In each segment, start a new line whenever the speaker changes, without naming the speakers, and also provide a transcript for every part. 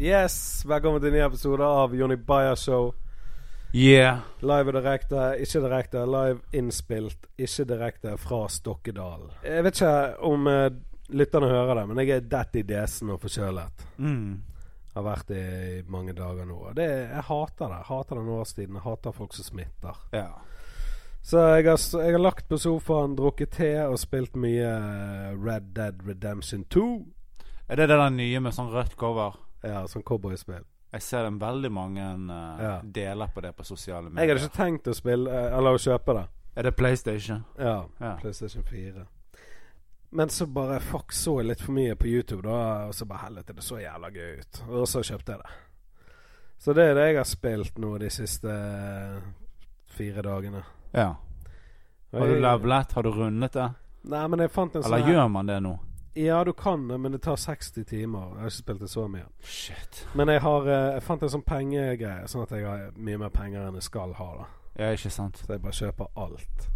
Yes, Velkommen til en ny episode av Jonny Bayer Show.
Yeah.
Live og direkte, ikke direkte. Live innspilt, ikke direkte fra Stokkedal. Jeg vet ikke om eh, lytterne hører det, men jeg er dett i desen og forkjølet.
Mm.
Har vært det i mange dager nå. Og Det, jeg hater det. Hater den årstiden. Jeg hater folk som smitter.
Ja.
Så jeg har, s- jeg har lagt på sofaen, drukket te og spilt mye eh, Red Dead Redemption 2.
Er det det der nye med sånn rødt cover?
Ja, sånn cowboyspill.
Jeg ser det veldig mange eh,
Ja.
deler på det på sosiale
Jeg
medier.
hadde ikke tenkt å spille eh, Eller å kjøpe det.
Er det PlayStation?
Ja,
Ja.
PlayStation 4. Men så bare Fuck, så jeg litt for mye på YouTube, da. Og så bare helvete, det så jævla gøy ut. Og så kjøpte jeg det. Så det er det jeg har spilt nå de siste eh, fire dagene.
Ja. Har du levelet? Har du rundet det?
Nei, men jeg fant en sånn
Eller
her-
gjør man det nå?
Ja, du kan det, men det tar 60 timer. Jeg har ikke spilt det så mye.
Shit.
Men jeg har eh, Jeg fant en sånn pengegreie, sånn at jeg har mye mer penger enn jeg skal ha. da
Ja, ikke sant.
Så jeg bare kjøper alt.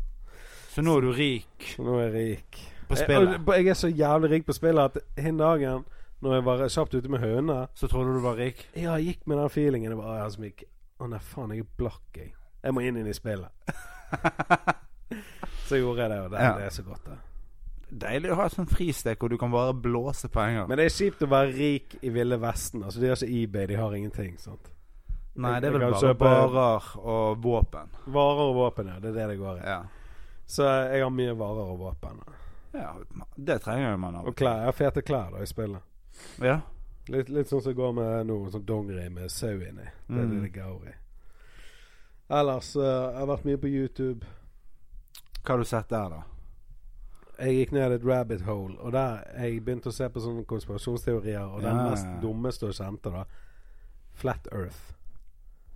Så nå er du rik
Så nå er jeg rik.
på
Jeg,
spillet.
Eh, og jeg er så jævlig rik på spillet at den dagen når jeg var kjapt ute med hønene
Så trodde du var rik?
Ja, jeg gikk med den feelingen. Jeg bare, «Å, jeg har så mye Å nei, faen, jeg er blakk, jeg. Jeg må inn i spillet. så gjorde jeg det, og det,
Ja.
det er så godt, det.
Deilig å ha et sånt fristek hvor du kan bare blåse penger.
Men det er kjipt å være rik i Ville Vesten. Altså, de har ikke eBay, de har ingenting. sant?
Nei, det er
jeg
vel
kan
bare
kjøpe-
barer og våpen.
Varer og våpen, ja. Det er det det går i.
Ja.
Så jeg har mye varer og våpen.
ja. Det trenger jo man av.
Og klær. Jeg har fete klær da i spillet.
Ja.
Litt, litt sånn som går med nå, sånn dongeri med sau inni. Det er
Mm.
det det går i. Ellers eh, jeg har vært mye på YouTube.
Hva har du sett der, da?
Jeg gikk ned et rabbit hole, og der jeg begynte å se på sånne konspirasjonsteorier, og den
Ja.
mest dummeste og kjente, da Flat Earth.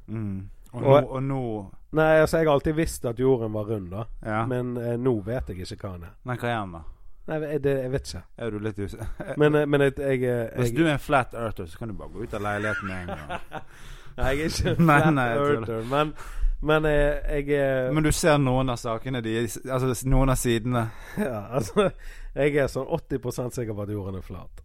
Mm. Og,
Og-
nå, og nå
Nei, altså, jeg har alltid visst at jorden var rund, da,
Ja.
men eh, nå vet jeg ikke hva den er.
Nei, hva er den, da?
Nei, jeg- det, jeg vet ikke.
Er du litt usikker?
Men, eh, men jeg, jeg,
Hvis
jeg,
du er en flat earther, så kan du bare gå ut av leiligheten med en gang.
nei, jeg er ikke
Nei,
Flat
nei, jeg tuller.
Earther, men, men jeg, jeg eh, er-
Men du ser noen av sakene de Altså noen av sidene.
Ja, altså Jeg er sånn 80 sikker på at jorden er flat.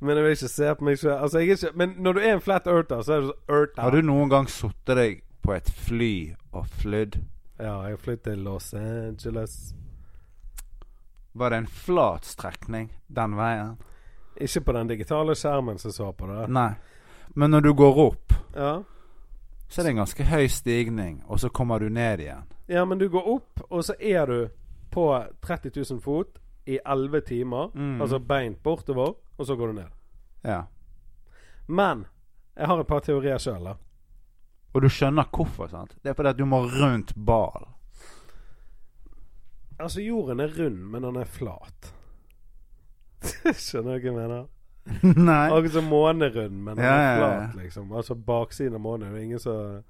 men jeg vil ikke se på meg sjøl. Altså, jeg er ikke Men når du er en flat earther, så er du sånn earther.
Har du noen gang sittet deg på et fly og flydd?
Ja, jeg flyttet til Los Angeles.
Var det en flat strekning den veien?
Ikke på den digitale skjermen som jeg så på det.
Nei. Men når du går opp,
Ja.
så er det en ganske høy stigning, og så kommer du ned igjen.
ja, men du går opp, og så er du på 30 000 fot i 11 timer.
Mm.
Altså beint bortover, og så går du ned.
Ja.
Men jeg har et par teorier sjøl, da.
Og du skjønner hvorfor, sant? Det er fordi at du må rundt ball.
Altså, jorden er rund, men den er flat. Skjønner du hva jeg mener?
Nei.
Akkurat som månen er rund, men den
Ja, ja,
er
ja.
flat, liksom. Altså baksiden av månen er det ingen som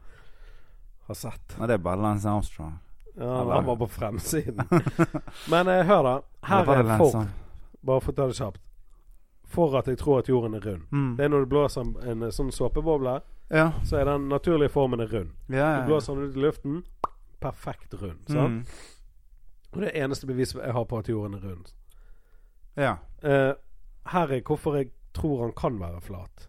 har sett.
Nei, det er bare Lance Armstrong.
Ja,
Eller-
han var på fremsiden. Men eh, hør, da.
Eller
Her
var
er
det
en
Lance
for,
Armstrong?
bare for å ta det kjapt, for at jeg tror at jorden er rund.
Mm.
Det er når du blåser en, en sånn såpeboble,
Ja.
så er den naturlige formen er rund.
Ja, ja.
Du blåser den ut i luften, perfekt rund. Sant?
Mm.
Og det er eneste beviset jeg har på at jorden er rund.
Ja.
Eh, her er hvorfor jeg tror han kan være flat.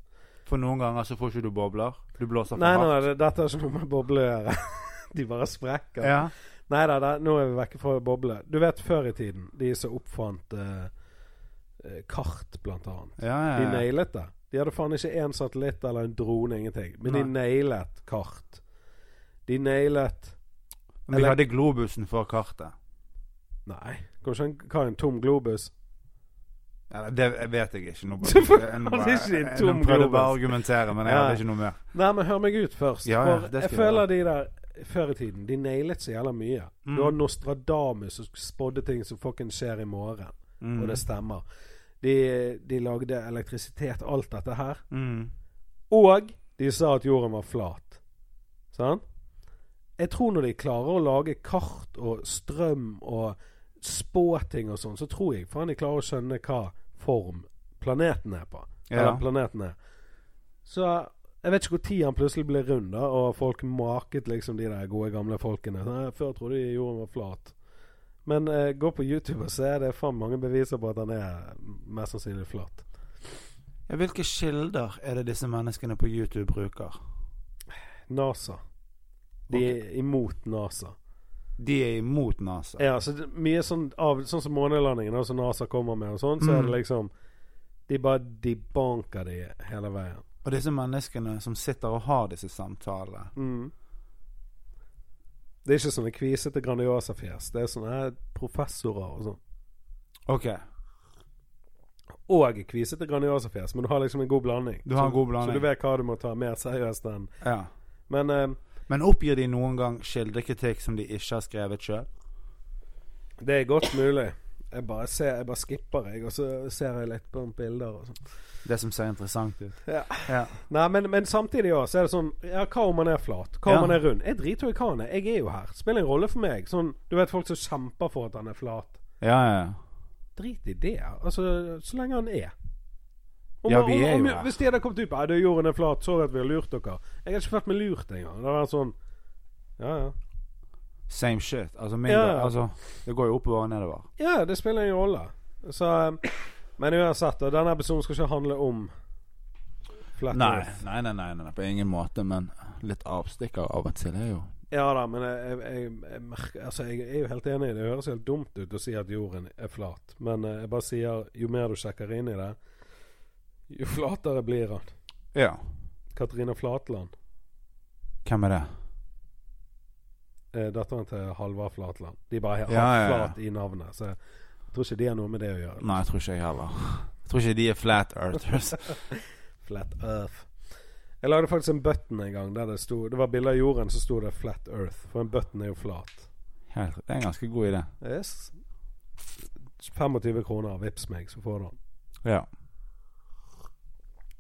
For noen ganger så får ikke du bobler. Du blåser for
Nei, nei,
hardt.
nei det, dette har ikke noe med boble å gjøre. De bare sprekker.
Ja.
Nei da, det- nå er vi vekke fra boble. Du vet før i tiden, de som oppfant eh, eh, kart, blant annet.
Ja, ja,
De
ja.
nailet det. De hadde faen ikke én satellitt eller en drone, ingenting. Men de nailet kart. De nailet
Men Vi hadde globusen for kartet.
Nei, kanskje en, hva, en tom globus?
Ja, det vet jeg ikke. Nå
Du får-
jeg-
hadde ikke en
jeg-
tom
Nå prøvde jeg bare å
globus.
argumentere, men jeg
Ja.
hadde ikke noe mer.
Nei, men hør meg ut først.
Ja, ja,
for
det
jeg
skal jeg
føler de der før i tiden, de nailet så jævla mye.
Mm.
Du har Nostradamus som spådde ting som fucking skjer i morgen, og det
Mm.
stemmer. De, de lagde elektrisitet, alt dette her.
Mm.
Og de sa at jorden var flat. Sant? Jeg tror når de klarer å lage kart og strøm og spåting og sånn, så tror jeg faen de klarer å skjønne hva form planeten er på. Eller
Ja.
planeten er. Så jeg vet ikke hvor tid han plutselig ble rund, da, og folk maket liksom de der gode gamle folkene. Sånn, «Nei, Før trodde de jorden var flat. Men eh, gå på YouTube og se. Det er faen mange beviser på at han er mest sannsynlig flat.
Ja, hvilke kilder er det disse menneskene på YouTube bruker?
NASA. De er imot NASA.
De er imot NASA.
Ja, så det, mye sånn av Sånn som månelandingen, da, som NASA kommer med og sånn, så er det
Mm.
liksom De bare De banker de hele veien.
Og disse menneskene som sitter og har disse samtalene
Mm. Det er ikke sånne kvisete Grandiosa-fjes. Det er sånne her professorer og sånn.
Ok,
Og kvisete Grandiosa-fjes, men du har liksom en god blanding.
Du har en
Så-
god blanding.
Så du vet hva du må ta mer seriøst enn
ja.
Men eh,
Men oppgir de noen gang kildekritikk som de ikke har skrevet sjøl?
det er godt mulig. Jeg bare, ser, jeg bare skipper, jeg, og så ser jeg litt på bilder og sånn.
Det som ser interessant ut.
Ja.
Ja.
Nei, men, men samtidig også, så er det sånn Ja, hva om man er flat? Hva om
Ja.
man er rund? Jeg driter jo i hva han er. Jeg er jo her. Spiller en rolle for meg. Sånn, du vet folk som kjemper for at han er flat.
ja, ja, ja.
Drit i det. Altså, så lenge han er. Om,
Ja, vi
om-
er
om,
jo her.
Hvis de hadde kommet ut Nei, du, jorden er flat. Sorry at vi har lurt dere. Jeg har ikke følt meg lurt engang. Det var sånn Ja, ja.
Same shit. Altså, mindre,
Ja, ja.
altså Det går jo oppover og nedover.
Ja, det spiller ingen rolle. Så eh, Men uansett, da, denne episoden skal ikke handle om flat
Nei,
earth.
nei, nei, nei, nei, på ingen måte, men litt avstikker av og til er jo
Ja da, men jeg, jeg, jeg, jeg merker Altså, jeg er jo helt enig. i Det Det høres helt dumt ut å si at jorden er flat, men eh, jeg bare sier jo mer du sjekker inn i det, jo flatere blir han.
Ja.
Katrine Flatland.
Hvem er det?
Eh, Datteren til Halvard Flatland. De bare har
Ja, ja, ja.
flat i navnet, så jeg tror ikke det har noe med det å gjøre.
Nei, jeg tror ikke jeg heller. Jeg tror ikke de er flat earthers.
Flat Earth. Jeg lagde faktisk en button en gang der det sto Det var bilde av jorden, så sto det Flat Earth. For en button er jo flat.
Helt, det er en ganske god idé.
Yes. 25 kroner, vips meg, så får du den.
Ja.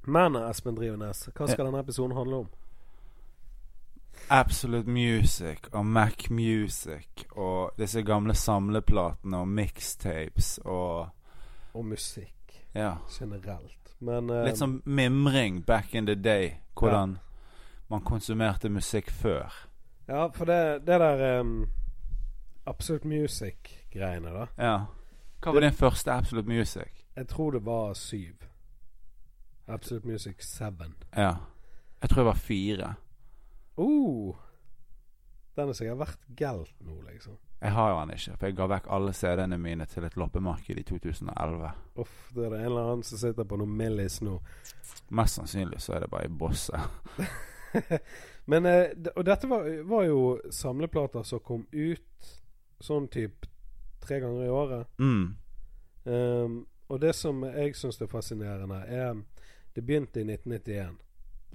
Men Espen Drivenes, hva skal denne episoden handle om?
Absolute Music og Mac Music og disse gamle samleplatene og mixtapes og
Og musikk
Ja.
generelt. Men eh,
Litt sånn mimring back in the day. Hvordan man konsumerte musikk før.
Ja, for det, det der um, Absolute Music-greiene, da.
Ja. Hva var din første Absolute Music?
Jeg tror det var syv. Absolute Music 7.
Ja. Jeg tror jeg var fire.
Uh, den er sikkert verdt gelt nå, liksom.
Jeg har jo den ikke, for jeg ga vekk alle CD-ene mine til et loppemarked i 2011.
Uff, det er det en eller annen som sitter på noen millis nå.
Mest sannsynlig så er det bare i bosset.
Men eh, d- Og dette var, var jo samleplater som kom ut sånn typ tre ganger i året.
Mm.
Ehm, og det som jeg syns er fascinerende, er Det begynte i 1991.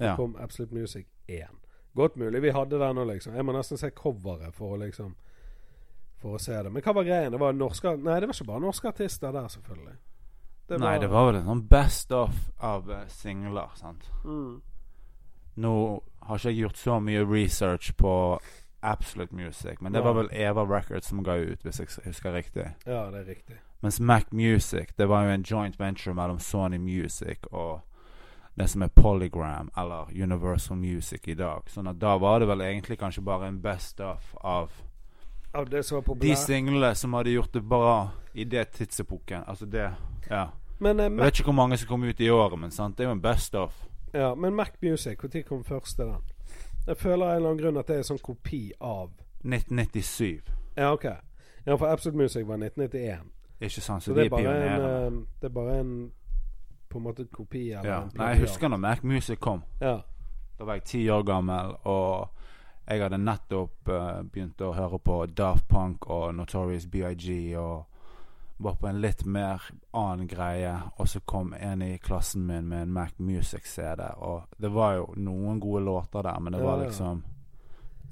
Ja.
Kom Absolute Music 1. Godt mulig vi hadde den nå, liksom. Jeg må nesten se coveret for å liksom For å se det. Men hva var greien? Det var norske Nei, det var ikke bare norske artister der, selvfølgelig.
Nei, det var vel en sånn best of av eh, singler, sant.
mm.
Nå har ikke jeg gjort så mye research på Absolute Music, men det var vel Eva Records som ga ut, hvis jeg s- husker riktig.
Ja, det er riktig.
Mens Mac Music, det var jo en joint venture mellom Sony Music og det som er Polygram, eller Universal Music i dag. Sånn at da var det vel egentlig kanskje bare en best of av
Ja, det som var
de
populært
singlene som hadde gjort det bra i det tidsepoken. Altså det Ja.
Men eh,
Jeg vet ikke hvor mange som kom ut i året, men sant, det er jo en best of.
Ja, men Mac Music, når kom første den? Jeg føler av en eller annen grunn at det er en sånn kopi av
1997.
Ja, ok. Ja, for Absolute Music var 1991.
Ikke sant,
Så
så, de er
det er bare en
pionerer.
eh, Det er bare en på en måte kopi eller
Ja.
en
Nei, jeg
plagiat.
husker når Mac Music kom.
Ja.
Da var jeg ti år gammel, og jeg hadde nettopp eh, begynt å høre på Daft Punk og Notorious BIG og var på en litt mer annen greie. Og så kom en i klassen min med en Mac Music-CD, og det var jo noen gode låter der, men det var
Ja, ja.
liksom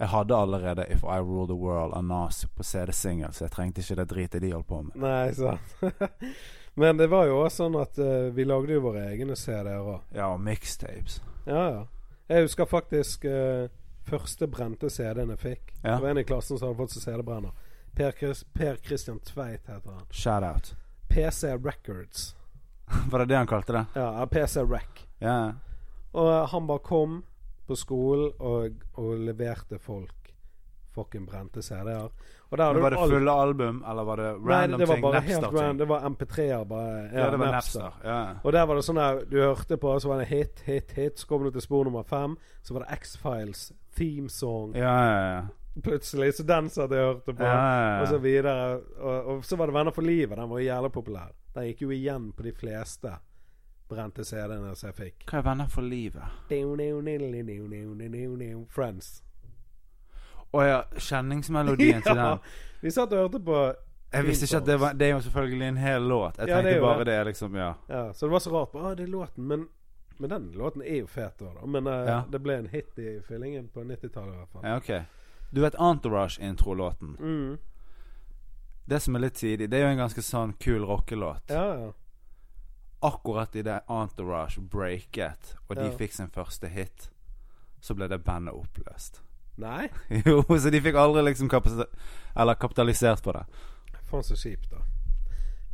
jeg hadde allerede If I Rule The World av Nas på CD-singel, så jeg trengte ikke det dritet de holdt på med.
Nei, sant. men det var jo også sånn at eh, vi lagde jo våre egne CD-er òg.
Ja, og mixtapes.
Ja, ja. Jeg husker faktisk eh, første brente CD-en jeg fikk.
Ja.
Det var en i klassen som hadde fått seg CD-brenner. Per, Chris, per Christian Tveit heter han.
Shout-out.
PC Records.
Var det det han kalte det?
Ja, PC Rec. eh,
Ja, ja.
Og han bare kom på skolen og, og leverte folk fucking brente CD-er. Og der
Men
hadde
var det
du alt
fulle album, eller var det
Nei,
random
det var
ting?
bare helt random.
Napster-ting?
Det var MP3-er, bare.
Ja, det var Napster. Ja.
Og der var det sånn der Du hørte på, så var det hit, hit, hit. Så kom du til spor nummer fem, så var det X-Files theme song
Ja, ja, ja.
plutselig. Så den satt jeg og hørte på.
ja, ja,
Og så
ja.
videre. Og, og så var det Venner for livet. Den var jo jævla populær. Den gikk jo igjen på de fleste brente CD-ene som jeg fikk.
Hva er Venner for livet?
Friends.
Å ja, kjenningsmelodien til
Ja,
den.
vi satt og hørte på
Jeg visste ikke at det var Det er jo selvfølgelig en hel låt. Jeg
Ja, det er
tenkte
jo
bare
det.
det, liksom. Ja.
Ja, så det var så rart. Bare, ah, det er låten, men, men den låten er jo fet, da. da. Men eh,
Ja.
det ble en hit i fyllingen på 90-tallet, i hvert fall.
ja, ok. Du vet Entourage-introlåten?
Mm.
Det som er litt tidlig, det er jo en ganske sånn kul rockelåt.
ja, ja.
Akkurat idet Entourage breaket, og de
Ja.
fikk sin første hit, så ble det bandet oppløst.
Nei?
Jo, så de fikk aldri liksom kapasi- Eller kapitalisert på det.
Faen så kjipt, da.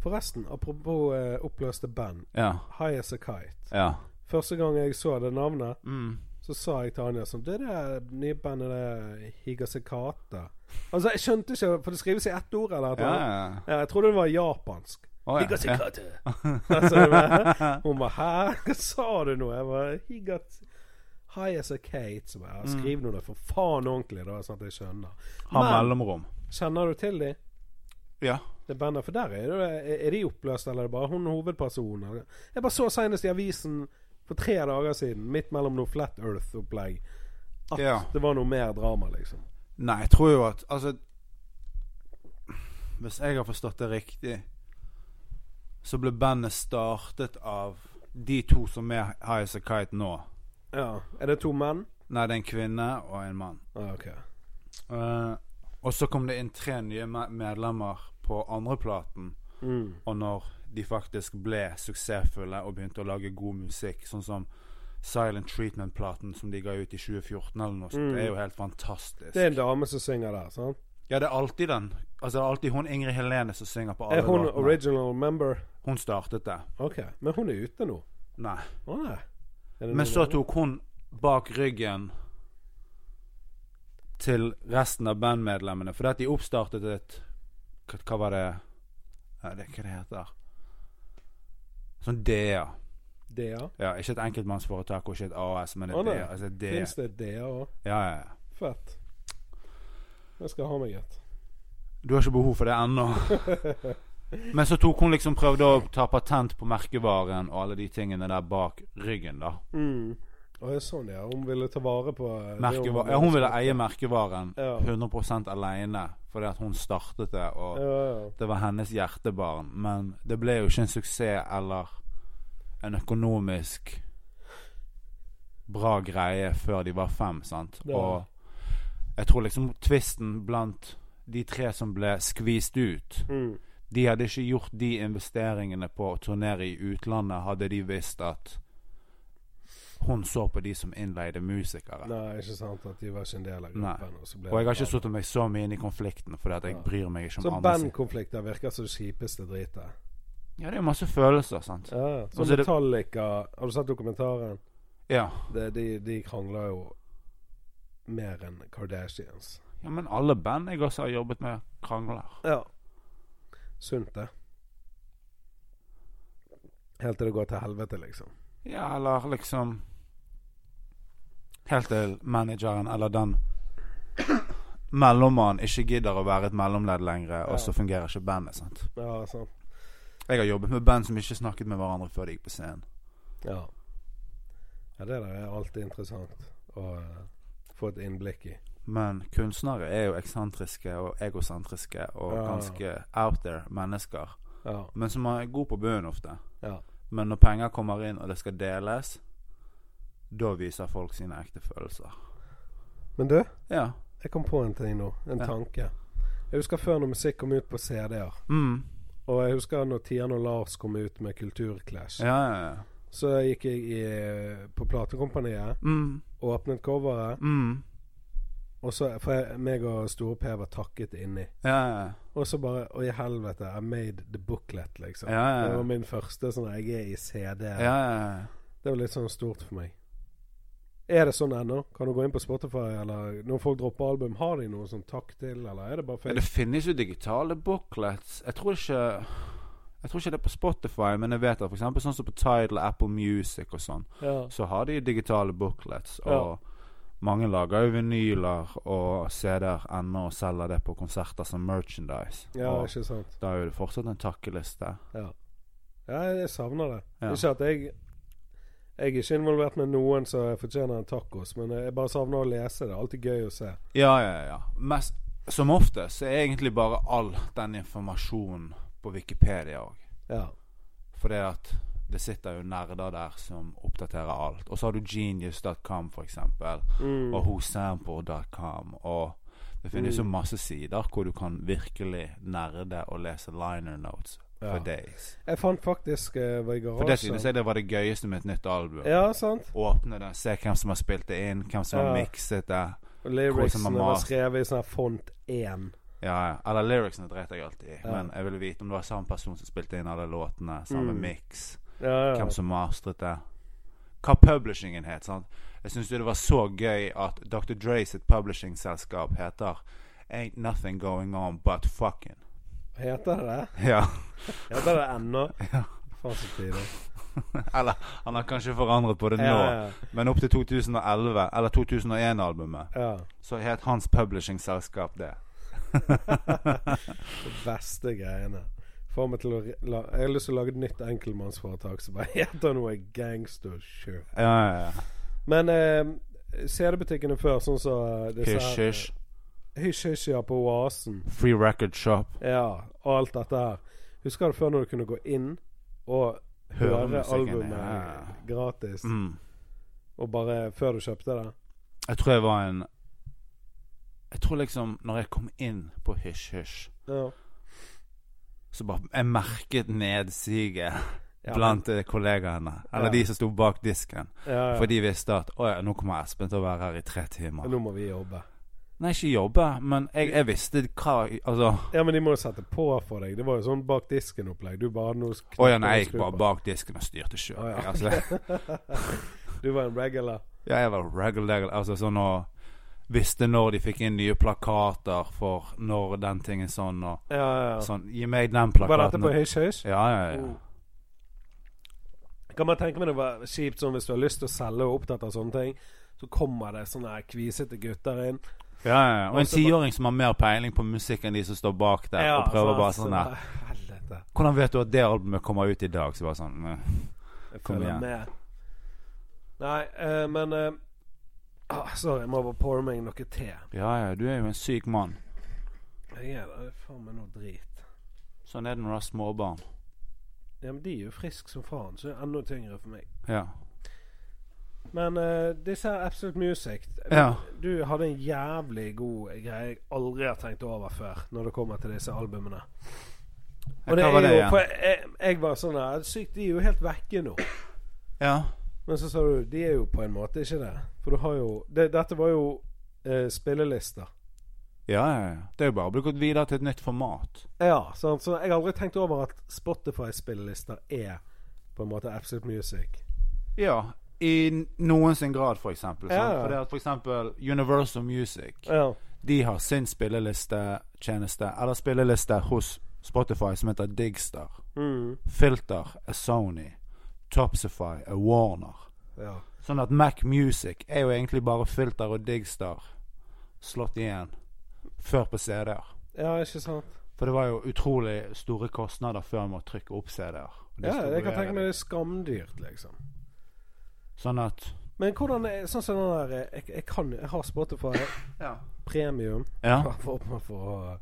Forresten, apropos eh, oppløste band.
Ja.
High As A Kite.
Ja.
Første gang jeg så det navnet,
Mm.
så sa jeg til Anja sånn Det er det nye bandet det Higasekata. Altså, jeg skjønte ikke, for det skrives i ett ord eller et
Ja,
eller
ja.
annet.
ja.
Ja, jeg trodde det var japansk.
Å, ja.
Higasekate. altså, det var- hun bare 'hæ, hva sa du nå?' Jeg bare 'Higat High as a Kate'. Så bare, ja, skriv nå det for faen ordentlig, da, sånn at jeg skjønner.
Ha
Men
mellomrom.
kjenner du til de?
Ja.
Det bandet, for der er, det, er de oppløst, eller er det bare hun hovedpersonen? Jeg bare så senest i avisen for tre dager siden, midt mellom noe Flat Earth-opplegg, at
Ja.
det var noe mer drama, liksom.
Nei, jeg tror jo at Altså Hvis jeg har forstått det riktig, så ble bandet startet av de to som er High As A Kite nå.
Ja. Er det to menn?
Nei, det er en kvinne og en mann.
Ah, ok.
Eh, og så kom det inn tre nye me- medlemmer på andreplaten.
Mm.
Og når de faktisk ble suksessfulle og begynte å lage god musikk, sånn som Silent Treatment-platen som de ga ut i 2014 eller noe sånt,
Mm.
det er jo helt fantastisk.
Det er en dame som synger der, sant?
Ja, det er alltid den. Altså, det er alltid hun Ingrid Helene som synger på alle
Er hun
låtene.
original member?
Hun startet det.
Ok, men hun er ute nå.
Nei.
Å nei. Er det
Men
noen
så
andre?
tok hun bak ryggen til resten av bandmedlemmene, fordi at de oppstartet et Hva, hva var det Ja, det Hva det heter Sånn DA.
Dea?
Ja, ikke et enkeltmannsforetak og ikke et AS, men et
Å, nei.
DA. Altså et DA.
Fins det Dea òg?
Ja, ja, ja.
Fett. Jeg skal ha meg et.
Du har ikke behov for det ennå. Men så tok hun liksom prøvde å ta patent på merkevaren og alle de tingene der bak ryggen, da.
Mm. Og det er sånn, ja. Hun ville ta vare på eh, det
Merkeva ja, hun ville eie merkevaren
Ja.
100 aleine fordi at hun startet det, og
Ja, ja.
det var hennes hjertebarn. Men det ble jo ikke en suksess eller en økonomisk bra greie før de var fem, sant.
Det var-
Og jeg tror liksom tvisten blant de tre som ble skvist ut
Mm.
De hadde ikke gjort de investeringene på å turnere i utlandet, hadde de visst at hun så på de som innleide musikere.
Nei, ikke sant at de var ikke en del av
Nei.
gruppen. Og, så ble
Og jeg har
det
ikke satt meg så mye inn i konflikten, fordi at jeg
Ja.
bryr meg ikke om
Så
andre sin-
bandkonflikter virker som det kjipeste dritet.
Ja, det er jo masse følelser, sant.
Ja. ja.
Og
Så
så er det-
Metallica Har du sett dokumentaren?
Ja,
Det, de, de krangler jo mer enn Kardashians.
ja men alle band jeg også har jobbet med, krangler.
Ja. Sunt, det. Helt til det går til helvete, liksom.
Ja, eller liksom Helt til manageren eller den mellommannen ikke gidder å være et mellomledd lenger,
Ja.
og så fungerer ikke bandet, sant.
Ja, sant.
Jeg har jobbet med band som ikke snakket med hverandre før de gikk på scenen.
Ja. ja det der er alltid interessant å eh, få et innblikk i.
Men kunstnere er jo eksentriske og egosentriske og
Ja.
ganske out there mennesker.
Ja.
Men som er god på bunnen ofte.
Ja.
Men når penger kommer inn og det skal deles, da viser folk sine ekte følelser.
Men du,
Ja.
jeg kom på en ting nå. En
Ja.
tanke. Jeg husker før når musikk kom ut på CD-er.
Mm.
Og jeg husker når Tian og Lars kom ut med Kulturclash.
Ja, ja, ja.
Så gikk jeg i, på platekompaniet,
Mm.
åpnet coveret,
Mm.
og så For jeg, meg og Store P var takket inni.
Ja, ja.
Og så bare Å, i helvete, I made the booklet, liksom.
Ja, ja, ja.
Det var min første sånn Jeg er i CD.
ja, ja, ja.
Det var litt sånn stort for meg. Er det sånn ennå? Kan du gå inn på Spotify, eller når folk dropper album, har de noe sånn takk til, eller er det bare
Ja,
fake?
det finnes jo digitale booklets. Jeg tror ikke Jeg tror ikke det er på Spotify, men jeg vet at for eksempel sånn som på Tidal, Apple Music og sånn,
Ja.
så har de digitale booklets. Og
Ja.
mange lager jo vinyler og CD-er ennå og selger det på konserter som merchandise.
ja,
og
ikke sant.
da er jo det fortsatt en takkeliste.
Ja, jeg savner det.
Ja.
Ikke at jeg Jeg er ikke involvert med noen som fortjener en tacos, men jeg bare savner å lese det. Alltid gøy å se.
Ja, ja, ja. Mest, som ofte så er egentlig bare all den informasjonen på Wikipedia òg.
Ja.
Fordi at det sitter jo nerder der som oppdaterer alt. Og så har du genius.com, for eksempel.
Mm.
Og hosample.com. Og det finnes jo masse sider hvor du kan virkelig nerde og lese liner notes for
Ja.
days.
Jeg fant faktisk eh, var i
For det synes
garasjen
jeg det var det gøyeste med et nytt album.
Ja, sant?
Åpne det, se hvem som har spilt det inn, hvem som har
Ja.
mikset det.
Og
Hvordan
Lyricsene
man
var
mas-
skrevet i sånn her font 1.
Ja, ja. Eller lyricsene driter jeg alltid i.
Ja.
Men jeg ville vite om det var samme person som spilte inn alle låtene. Samme
Mm.
mix.
Ja, ja.
Hvem som mastret det. Hva publishingen het. sant? Jeg syns det var så gøy at Dr. Dre sitt publishingselskap heter Ain't Nothing Going On But Fucking.
Heter det det?
Ja.
Heter det ennå?
Ja.
Faen så tidlig.
Eller han har kanskje forandret på det nå,
Ja, ja,
men opp til 2011, eller 2001-albumet,
ja.
så het hans publishingselskap det.
De beste greiene. Får meg til å re- la, Jeg har lyst til å lage et nytt enkeltmannsforetak som bare heter noe gangster shit.
Ja, ja, ja.
Men eh, CD-butikkene før, sånn som så disse
Hysj,
her-
hysj.
Hysj, hysj, ja, på Oasen.
Free Record Shop.
Ja, og alt dette her. Husker du før når du kunne gå inn og høre,
Høre musikken,
albumet
ja.
gratis,
Mm.
og bare før du kjøpte det?
Jeg tror jeg var en Jeg tror liksom Når jeg kom inn på Hysj Hysj,
Ja.
så bare Jeg merket nedsiget
Ja,
blant eh, kollegaene. Eller
Ja.
de som sto bak disken.
men- ja, ja.
For de visste at Å ja, nå kommer Espen til å være her i tre timer.
Nå må vi jobbe.
Nei, ikke jobbe, men jeg, jeg visste hva Altså
Ja, men de må jo sette på for deg. Det var jo sånn bak disken-opplegg. Du bare hadde noe sk-
Å ja, nei, jeg
skru
gikk bare
på.
bak disken og styrte sjøl.
Å, ja.
altså,
Du var en regular.
ja, jeg var regular, altså sånn og Visste når de fikk inn nye plakater for når den tingen sånn og
Ja, ja, ja.
sånn. Gi meg den
Var dette
plakaten.
på Oh. Hysj Hysj?
ja, ja, ja.
Mm. Kan man tenke meg det var kjipt sånn hvis du har lyst til å selge og er opptatt av sånne ting, så kommer det sånne her kvisete gutter inn.
Ja, ja, ja. Og en
Og så bare-
tiåring som har mer peiling på musikk enn de som står bak der, og
altså,
prøver bare sånn der
så- Helvete.
Hvordan vet du at det albumet kommer ut i dag? Så bare sånn eh.
Jeg
Kom
følger
igjen.
med. Nei, eh, men eh, ah, Sorry, jeg må bare påre meg noe te.
Ja, ja, du er jo en syk mann.
Jeg er det er faen meg noe drit.
Sånn er det når du har småbarn.
Ja, men de er jo friske som faen, så det er enda tyngre for meg.
Ja.
Men eh, disse her Absolute Music
Ja.
Du hadde en jævlig god greie jeg aldri har tenkt over før, når det kommer til disse albumene. Og det
Hva
er
var det
jo, for
igjen?
jeg, jeg var sånn her Sykt, de er jo helt vekke nå.
Ja.
Men så sa du de er jo på en måte ikke det. For du har jo det, Dette var jo eh, spillelister.
Ja, ja, ja. Det er jo bare å bli gått videre til et nytt format.
Ja, sant? så jeg har aldri tenkt over at Spotify-spillelister er på en måte Absolute Music.
Ja. I n- noen sin grad, for eksempel.
Ja,
sant?
ja.
For det at for eksempel Universal Music
Ja.
De har sin spilleliste-tjeneste, eller spilleliste hos Spotify, som heter Digster.
Mm.
Filter er Sony. Topsify er Warner.
ja.
Sånn at Mac Music er jo egentlig bare Filter og Digstar slått igjen før på CD-er.
Ja, ikke sant?
For det var jo utrolig store kostnader før med å trykke opp CD-er. og
Ja, jeg kan
distribuere
tenke
det.
meg det er skamdyrt, liksom.
Sånn at
Men hvordan er Sånn som den der eh, Jeg, jeg kan Jeg har Spotify
ja.
premium.
ja.
For, for, for,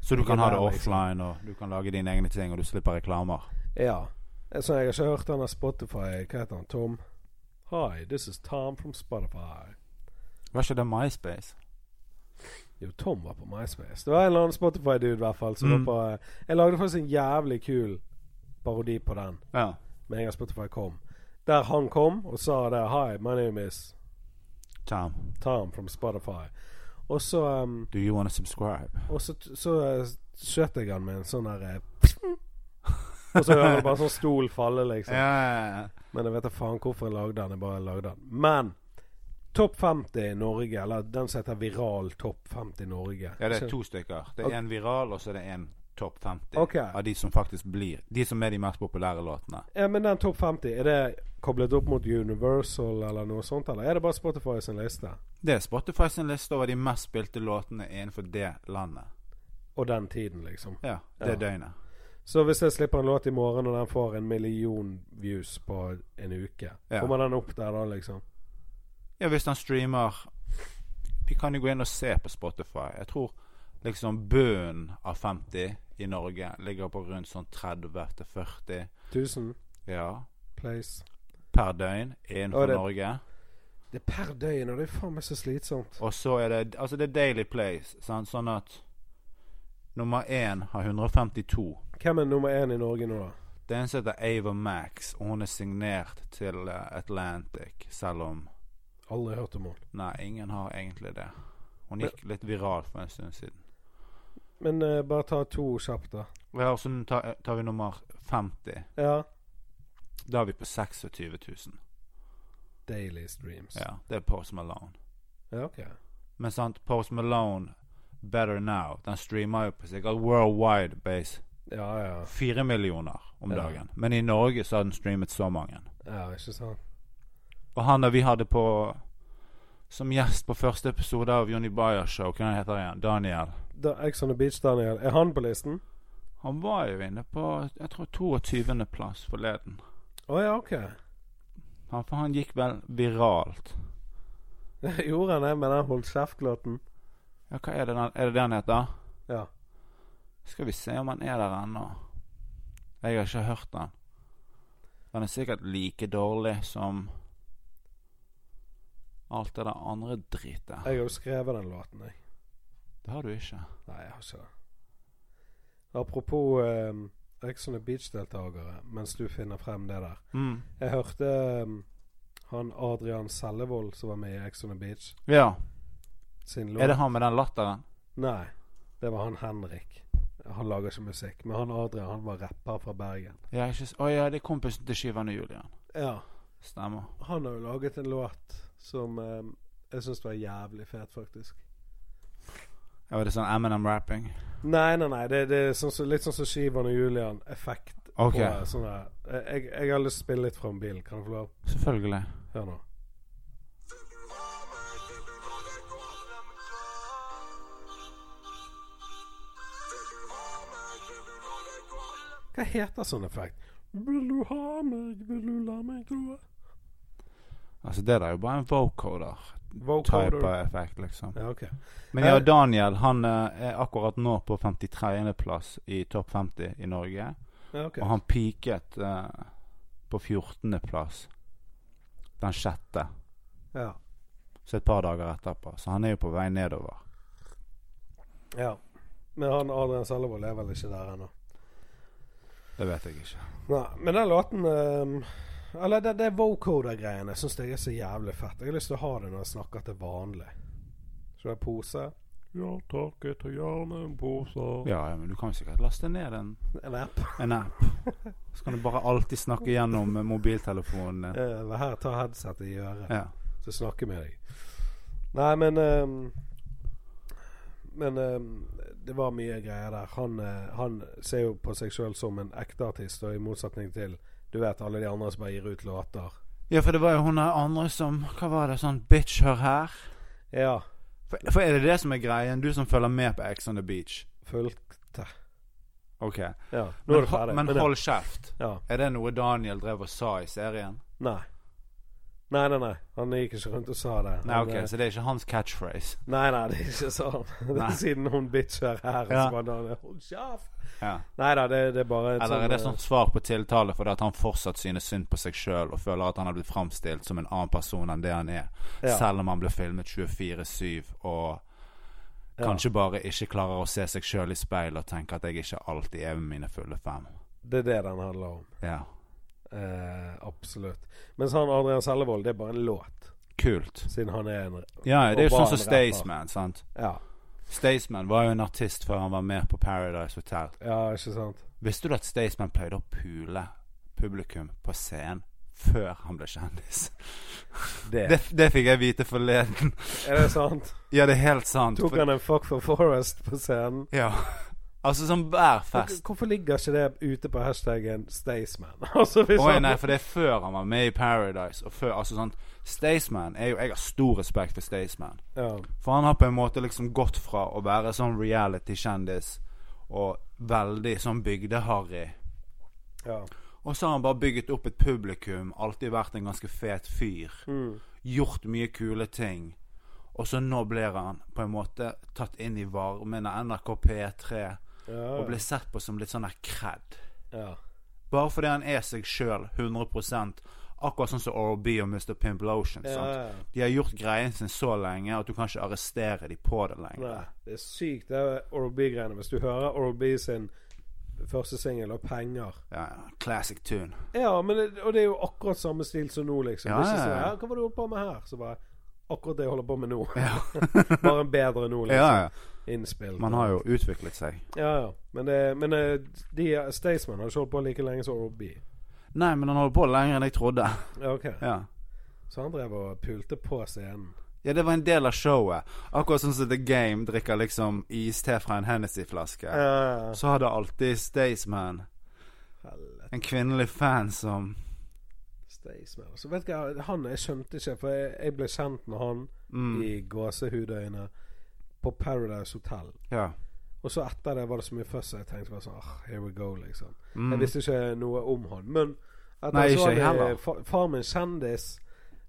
Så du kan ha det
Ja, liksom.
offline, og du kan lage dine egne ting, og du slipper reklamer.
ja. Så jeg har ikke hørt den der Spotify Hva heter han? Tom? Hi, this is Tom from Spotify.
Var ikke det MySpace?
Jo, Tom var på MySpace. Det var en eller annen Spotify-dude, i hvert fall. Som
Mm.
var på, eh, jeg lagde faktisk en jævlig kul parodi på den
Ja.
med en gang Spotify kom. Der han kom og sa det Hi, my name is
Tom,
Tom from Spotify. Og så um,
do you wanna subscribe?
Og så, så eh, skjøt jeg han med en sånn her eh, Og så hører du bare sånn stol falle, liksom.
Ja, ja, ja.
Men jeg vet da faen hvorfor jeg lagde den. Jeg bare lagde den. Men Topp 50 i Norge, eller den som heter Viral topp 50 i Norge.
Ja, det
Så-
er to stykker. Det
Ok.
er en viral, og så er det en topp 50
Ok.
av de som faktisk blir De som er de mest populære låtene.
Ja, men den topp 50, er det koblet opp mot Universal eller noe sånt, eller er det bare Spotify sin liste?
Det er Spotify sin liste over de mest spilte låtene innenfor det landet.
Og den tiden, liksom.
Ja, det
Ja.
døgnet.
Så hvis jeg slipper en låt i morgen, og den får en million views på en uke,
Ja.
kommer den opp der da, liksom?
Ja, hvis han streamer Vi kan jo gå inn og se på Spotify. Jeg tror liksom bunnen av 50 i Norge ligger på rundt sånn 30 til 40
1000
ja,
plays.
per døgn
Og
innenfor
det-
Norge.
Det er per døgn, og det er faen meg så slitsomt.
Og så er det Altså, det er Daily Plays, sant? sånn at nummer én har 152.
Hvem er nummer én i Norge nå, da?
Det er en som heter Ava Max, og hun er signert til eh, Atlantic, selv om
Aldri hørt om henne.
Nei, ingen har egentlig det. Hun gikk litt viral for en stund siden.
Men eh, bare ta to kjapt, da.
Ja, og så tar, tar vi nummer 50.
Ja.
Da er vi på 26 000.
Daily streams.
Ja, det er Post Malone.
Ja, ok.
Men sant, Post Malone, Better Now, den streamer jo på sikkert worldwide base.
Ja, ja.
Fire millioner om
Ja.
dagen. Men i Norge så har den streamet så mange.
Ja, ikke sant?
Og han der vi hadde på som gjest på første episode av Jonny Bajers show, hva heter han igjen? Daniel.
Da, Ex on the Beach, Daniel. Er han på listen?
Han var jo inne på jeg tror 22. plass forleden.
Å ja, ok.
Han, for han gikk vel viralt.
Gjorde han det med den holdt kjeft-låten?
Ja, hva er det den, er det det han heter?
Ja.
Skal vi se om han er der ennå. Jeg har ikke hørt den. Den er sikkert like dårlig som alt det der andre dritet.
Jeg har jo skrevet den låten, jeg.
Det har du ikke.
Nei, jeg har ikke det. Apropos um, Ex on the Beach-deltakere, mens du finner frem det der.
Mm.
Jeg hørte ehm, han Adrian Sellevold som var med i Ex on the Beach,
Ja.
sin låt
Er det han med den latteren?
Nei, det var han Henrik. Han lager ikke musikk, men han Adrian han var rapper fra Bergen.
Ja, ikke s- Å ja, det er kompisen til Skyvan og Julian.
Ja,
Stemmer.
han har jo laget en låt som ehm, jeg syns var jævlig fet, faktisk.
Ja, var det sånn Eminem-rapping?
Nei, nei, nei. Det, det er sånn, som- litt sånn som Shivan og Julian-effekt.
Ok,
på sånn her. Jeg, jeg har lyst til å spille litt fra en bil. Kan jeg få lov?
selvfølgelig.
Hør nå. Hva heter sånn effekt? Vil du ha meg, vil du la meg tro
Altså, det der er jo bare en vocoder-type
Vocoder.
effekt, liksom.
Ja, ok.
Men ja, Daniel han eh, er akkurat nå på 53. plass i topp 50 i Norge.
Ja, ok.
Og han peaket eh, på 14. plass den sjette,
Ja.
så et par dager etterpå. Så han er jo på vei nedover.
ja. Men han Adrian Sellevold er vel ikke der ennå.
Det vet jeg ikke.
Nei, men den låten ehm, Eller det, det vocoder-greiene syns jeg er så jævlig fett. Jeg har lyst til å ha det når jeg snakker til vanlig. Så det er pose. Ja, takk. Jeg tar gjerne en pose.
Ja, ja, men du kan jo sikkert laste ned en,
En app.
en app. Så kan du bare alltid snakke gjennom eh, mobiltelefonen. din.
Eh, her, ta headsetet i øret,
Ja.
så snakker jeg med deg. Nei, men ehm, Men ehm, det var mye greier der. Han, eh, han ser jo på seg sjøl som en ekte artist, og i motsetning til du vet alle de andre som bare gir ut låter.
ja, for det var jo hun der andre som Hva var det? Sånn bitch, hør her.
Ja,
For, for er det det som er greien? Du som følger med på Ex on the Beach.
fulgte.
Ok.
Ja, nå
Men,
er det
ho-
ferdig.
men
ja.
hold kjeft.
Ja.
Er det noe Daniel drev og sa i serien?
Nei. Nei, nei, nei. Han gikk ikke rundt og sa det.
Nei,
Han,
ok,
eh,
så det er ikke hans catchphrase.
nei, nei, det er ikke sånn. Det
Nei.
er siden hun bitcher her,
Ja.
så var det Hold kjeft!
Ja.
Nei da, det, det er bare et
Eller er det
eh,
sånn svar på tiltale fordi at han fortsatt synes synd på seg sjøl og føler at han har blitt framstilt som en annen person enn det han er,
eh, Ja.
selv om han ble filmet 24-7 og
Ja.
kanskje bare ikke klarer å se seg sjøl i speilet og tenke at jeg ikke alltid er ved mine fulle fem.
Det er det den handler om.
Ja.
Eh, absolutt. Mens han Adrian Sellevold, det er bare en låt.
Kult.
Siden han er en
Ja, det er jo
Og var
sånn som
en rapper.
Staysman, sant.
Ja,
Staysman var jo en artist før han var med på Paradise Hotel.
ja ikke sant?
Visste du at Staysman pleide å pule publikum på scenen før han ble kjendis.
Det.
Det, det fikk jeg vite forleden.
Er det sant?
Ja, det er helt sant.
Tok
For,
han en Fuck for Forest på scenen?
ja. Altså som hver fest.
Hvorfor ligger ikke det ute på hashtaggen Staysman? Altså, hvis
Oi,
han-
nei, for det er før han var med i Paradise. Og før, altså sånn Staysman er jo Jeg har stor respekt for Staysman.
ja.
For han har på en måte liksom gått fra å være sånn reality-kjendis og veldig sånn bygde-harry,
ja.
og så har han bare bygget opp et publikum, alltid vært en ganske fet fyr,
Mm.
gjort mye kule ting, og så nå blir han på en måte tatt inn i varmen av NRK P3
ja.
og blir sett på som litt sånn her cred.
ja.
Bare fordi han er seg sjøl 100 akkurat sånn som Oral B og Mr. Pimp Lotion.
Ja,
Sant?
ja, ja.
De har gjort greien sin så lenge at du kan ikke arrestere dem på det lenger.
Nei, det er sykt, det er Oral B-greiene. Hvis du hører Oral B sin første singel og penger
Ja, ja, classic tune.
Ja, men det, og det er jo akkurat samme stil som nå, liksom.
Ja,
Det er ikke
ja,
sånn,
ja.
ja, hva var det du holdt på med her? Så bare Akkurat det jeg holder på med nå.
Ja.
Bare en bedre nå, liksom.
ja, ja.
Innspilt.
Man har jo utviklet seg.
Ja, ja. Men, det, men eh, de Staysman har ikke holdt på like lenge som Oral B.
Nei, men han holder på lenger enn jeg trodde.
Ja, ok.
Ja.
Så han drev og pulte på scenen.
ja, det var en del av showet. Akkurat sånn som The Game drikker liksom iste fra en Hennessy-flaske.
Ja.
Så hadde alltid Staysman
Helvete.
en kvinnelig fan som
Staysman. Så vet du hva, han jeg skjønte ikke, for jeg, jeg ble kjent med han
mm,
i gåsehudøyne på Paradise Hotel.
Ja.
Og så etter det var det så mye fuss, og jeg tenkte bare sånn ah, Here we go, liksom.
Mm.
Jeg visste ikke noe om han. Men etter
Nei,
jeg
ikke
så
jeg
han i
heller.
Fa- Farmen kjendis,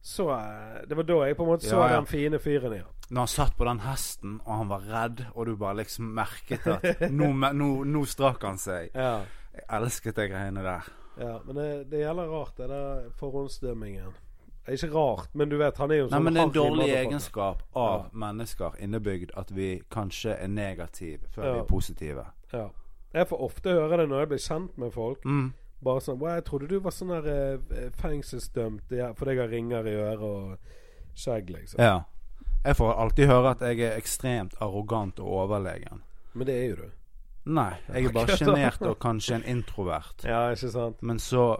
så eh, Det var da jeg på en måte så
Ja, ja.
den fine fyren i han.
Når han satt på den hesten, og han var redd, og du bare liksom merket at Nå, me- nå, nå strakk han seg.
Ja.
Jeg elsket de greiene der.
ja. Men det, det gjelder rart, det der forhåndsdømmingen. Det er ikke rart, men du vet, han er jo
Nei,
sånn
men det er en
harry
dårlig
motherfucker.
egenskap av mennesker innebygd at vi kanskje er negative før vi
Ja.
er positive.
Ja. Jeg får ofte høre det når jeg blir kjent med folk.
Mm.
Bare sånn «Wow, Jeg trodde du var sånn der eh, fengselsdømt ja, fordi jeg har ringer i øret og skjegg, liksom.
Ja. Jeg får alltid høre at jeg er ekstremt arrogant og overlegen.
Men det er jo du.
Nei, jeg er bare sjenert og kanskje en introvert.
Ja, ikke sant?
Men så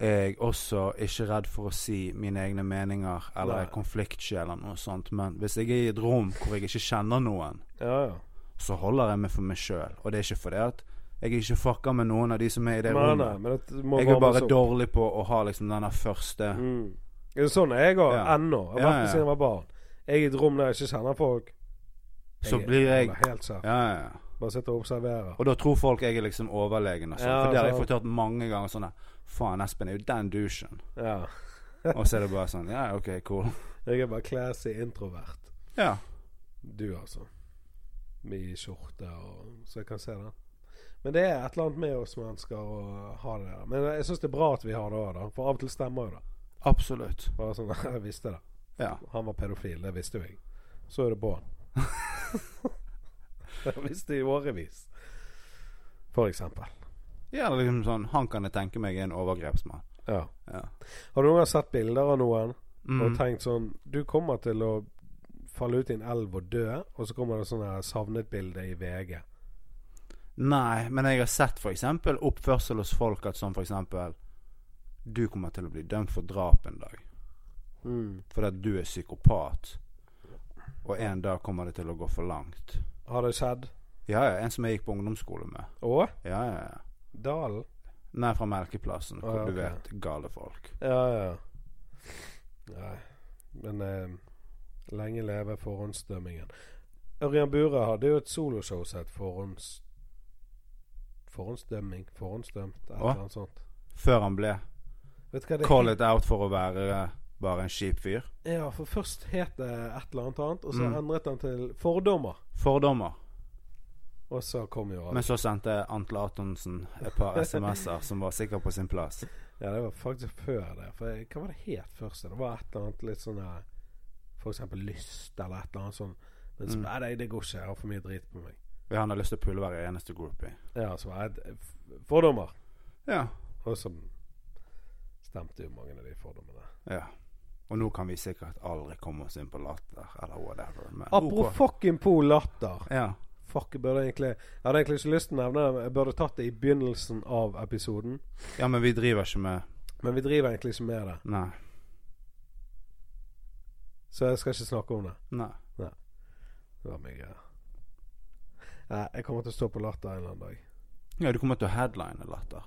er jeg også ikke redd for å si mine egne meninger eller
Nei.
er konfliktsky eller noe sånt. Men hvis jeg er i et rom hvor jeg ikke kjenner noen,
Ja, ja.
så holder jeg meg for meg sjøl. Og det er ikke fordi at jeg ikke fucker med noen av de som er i det
Nei, nei,
rommet.
men det må
Jeg er
varmes
bare
opp.
dårlig på å ha liksom den der første
Mm. Det er Sånn er jeg òg,
Ja.
ennå. Jeg har
Ja,
vært det
ja.
siden jeg var barn. Jeg er i et rom der jeg ikke kjenner folk.
Så blir jeg
holder Helt kjeft.
Ja, ja, ja.
Bare sitter og observerer.
Og da tror folk jeg er liksom overlegen og sånn.
Ja,
for det har jeg
sant.
fått hørt mange ganger sånn der Faen, Espen er jo den douchen.
Ja.
Og så er det bare sånn Ja, ok, cool.
Jeg er bare classy introvert.
Ja.
Du, altså. Mye skjorte og Så jeg kan se den. Men det er et eller annet med oss mennesker å ha det der. Men jeg syns det er bra at vi har det òg, da. For av og til stemmer jo det.
Absolutt.
Bare sånn Jeg visste det.
Ja.
Han var pedofil. Det visste jo jeg. Så er det på han. det visste jeg i årevis. For eksempel.
ja eller liksom sånn Han kan jeg tenke meg er en overgrepsmann.
Ja.
Ja.
Har du noen gang sett bilder av noen og
Mm.
tenkt sånn Du kommer til å falle ut i en elv og dø, og så kommer det sånn her savnet-bilde i VG.
Nei, men jeg har sett for eksempel oppførsel hos folk at sånn for eksempel Du kommer til å bli dømt for drap en dag fordi at du er psykopat, og en dag kommer det til å gå for langt.
Har det skjedd?
Ja, ja. En som jeg gikk på ungdomsskole med.
Og?
Ja, ja, ja.
Dalen?
Nei, fra Melkeplassen, hvor
Ah, ja,
du
ok.
vet gale folk.
Ja, ja. Nei. Men eh, lenge leve forhåndsdømmingen. Ørjan Bure hadde jo et soloshow som het Forhånds... Forhåndsdømming? Forhåndsdømt? Et
Hva?
eller annet sånt.
Før han ble
Vet du hva det
call it out for å være eh, bare en kjip fyr.
Ja, for først het det et eller annet annet, og så
Mm.
endret han til Fordommer.
Fordommer.
Og så kom jo alt.
Men så sendte Antle Antonsen et par SMS-er som var sikkert på sin plass.
Ja, det var faktisk før det. For jeg- Hva var det het først? Det var et eller annet litt sånn her For eksempel lyst, eller et eller annet sånn. Men så
Mm.
Nei, det- det går ikke. Jeg har for mye drit på meg.
Vi har lyst til å pulle hver eneste groupie.
Ja, så var jeg f- Fordommer.
Ja.
Og så stemte jo mange av de fordommene.
ja. Og nå kan vi sikkert aldri komme oss inn på latter eller whatever. Men
Apropos fucking pol latter.
OK. Ja.
Fuck, jeg burde egentlig Jeg hadde egentlig ikke lyst til å nevne det, men jeg burde tatt det i begynnelsen av episoden.
Ja, men vi driver ikke med
Men vi driver egentlig ikke med det,
Nei.
så jeg skal ikke snakke om det.
Nei.
Det var mye greier. Nei, jeg kommer til å stå på latter en eller annen dag.
Ja, du kommer til å headline latter.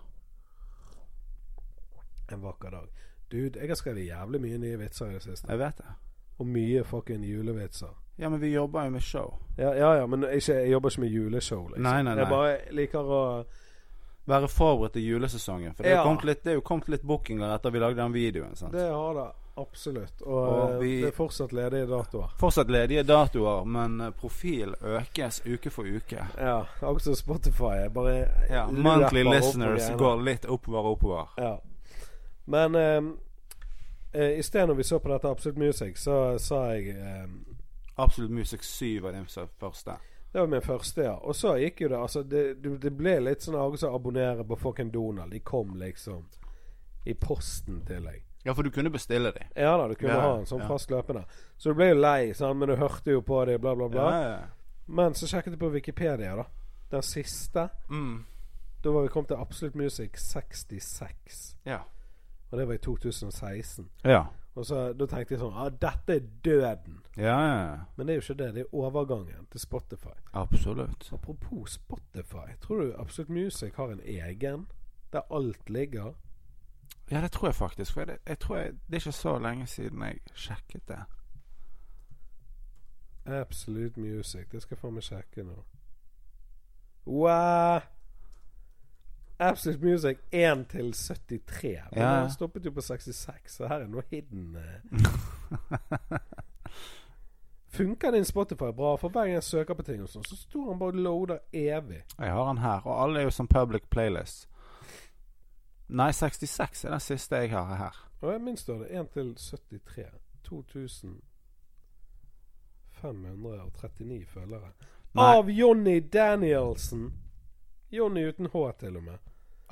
En vakker dag. Dude, jeg har skrevet jævlig mye nye vitser i det siste.
Jeg vet det.
Og mye fucking julevitser.
Ja, men vi jobber jo med show.
Ja, ja, ja men ikke, jeg jobber ikke med juleshow, liksom.
Nei, nei,
Jeg
nei.
bare liker å
Være forberedt til julesesongen. For det er
Ja.
jo kommet litt, det er jo kommet litt bookinger etter vi lagde den videoen. sant?
Det har det absolutt. Og,
Og
eh,
vi-
det er fortsatt ledige datoer.
Fortsatt ledige datoer, men eh, profil økes uke for uke.
Ja. Akkurat som Spotify. Jeg bare
Ja,
lurer
Monthly
bare opp på
listeners
greiene.
går litt oppover og oppover.
Ja. Men eh, eh, i sted når vi så på dette Absolute Music, så sa jeg eh,
Absolutt Music 7 var den som første.
Det var min første, ja. Og så gikk jo det Altså, det, du- det ble litt sånn Hage som abonnerer på fucking Donald. De kom liksom i posten til deg.
Ja, for du kunne bestille de.
Ja da, du kunne
Ja,
ha en sånn
ja.
fast løpende. Så du ble jo lei, sant? men du hørte jo på det, bla, bla, bla.
Ja, ja.
Men så sjekket du på Wikipedia, da. Den siste.
Mm.
Da var vi kommet til Absolute Music 66.
ja.
Og det var i 2016.
Ja.
Og så, Da tenkte jeg sånn Ja, dette er døden.
Ja, ja.
Men det er jo ikke det. Det er overgangen til Spotify.
Absolutt.
Apropos Spotify, tror du Absolute Music har en egen? Der alt ligger?
Ja, det tror jeg faktisk. For det, jeg tror jeg, det er ikke så lenge siden jeg sjekket det.
Absolute Music, det skal jeg faen meg sjekke nå. Wow! Absolute Music 1 til 73. Men
Ja.
den stoppet jo på 66, så her er noe hidden. eh. Funker din Spotify bra? For hver gang jeg søker på ting, og sånn, så står han bare og loader evig.
Jeg har den her, og alle er jo som public playlist. Nei, 66 er den siste jeg har her.
Og jeg minst står det 1 til 73. 2539 følgere.
Nei,
Av Jonny Danielsen! Jonny uten H, til og med.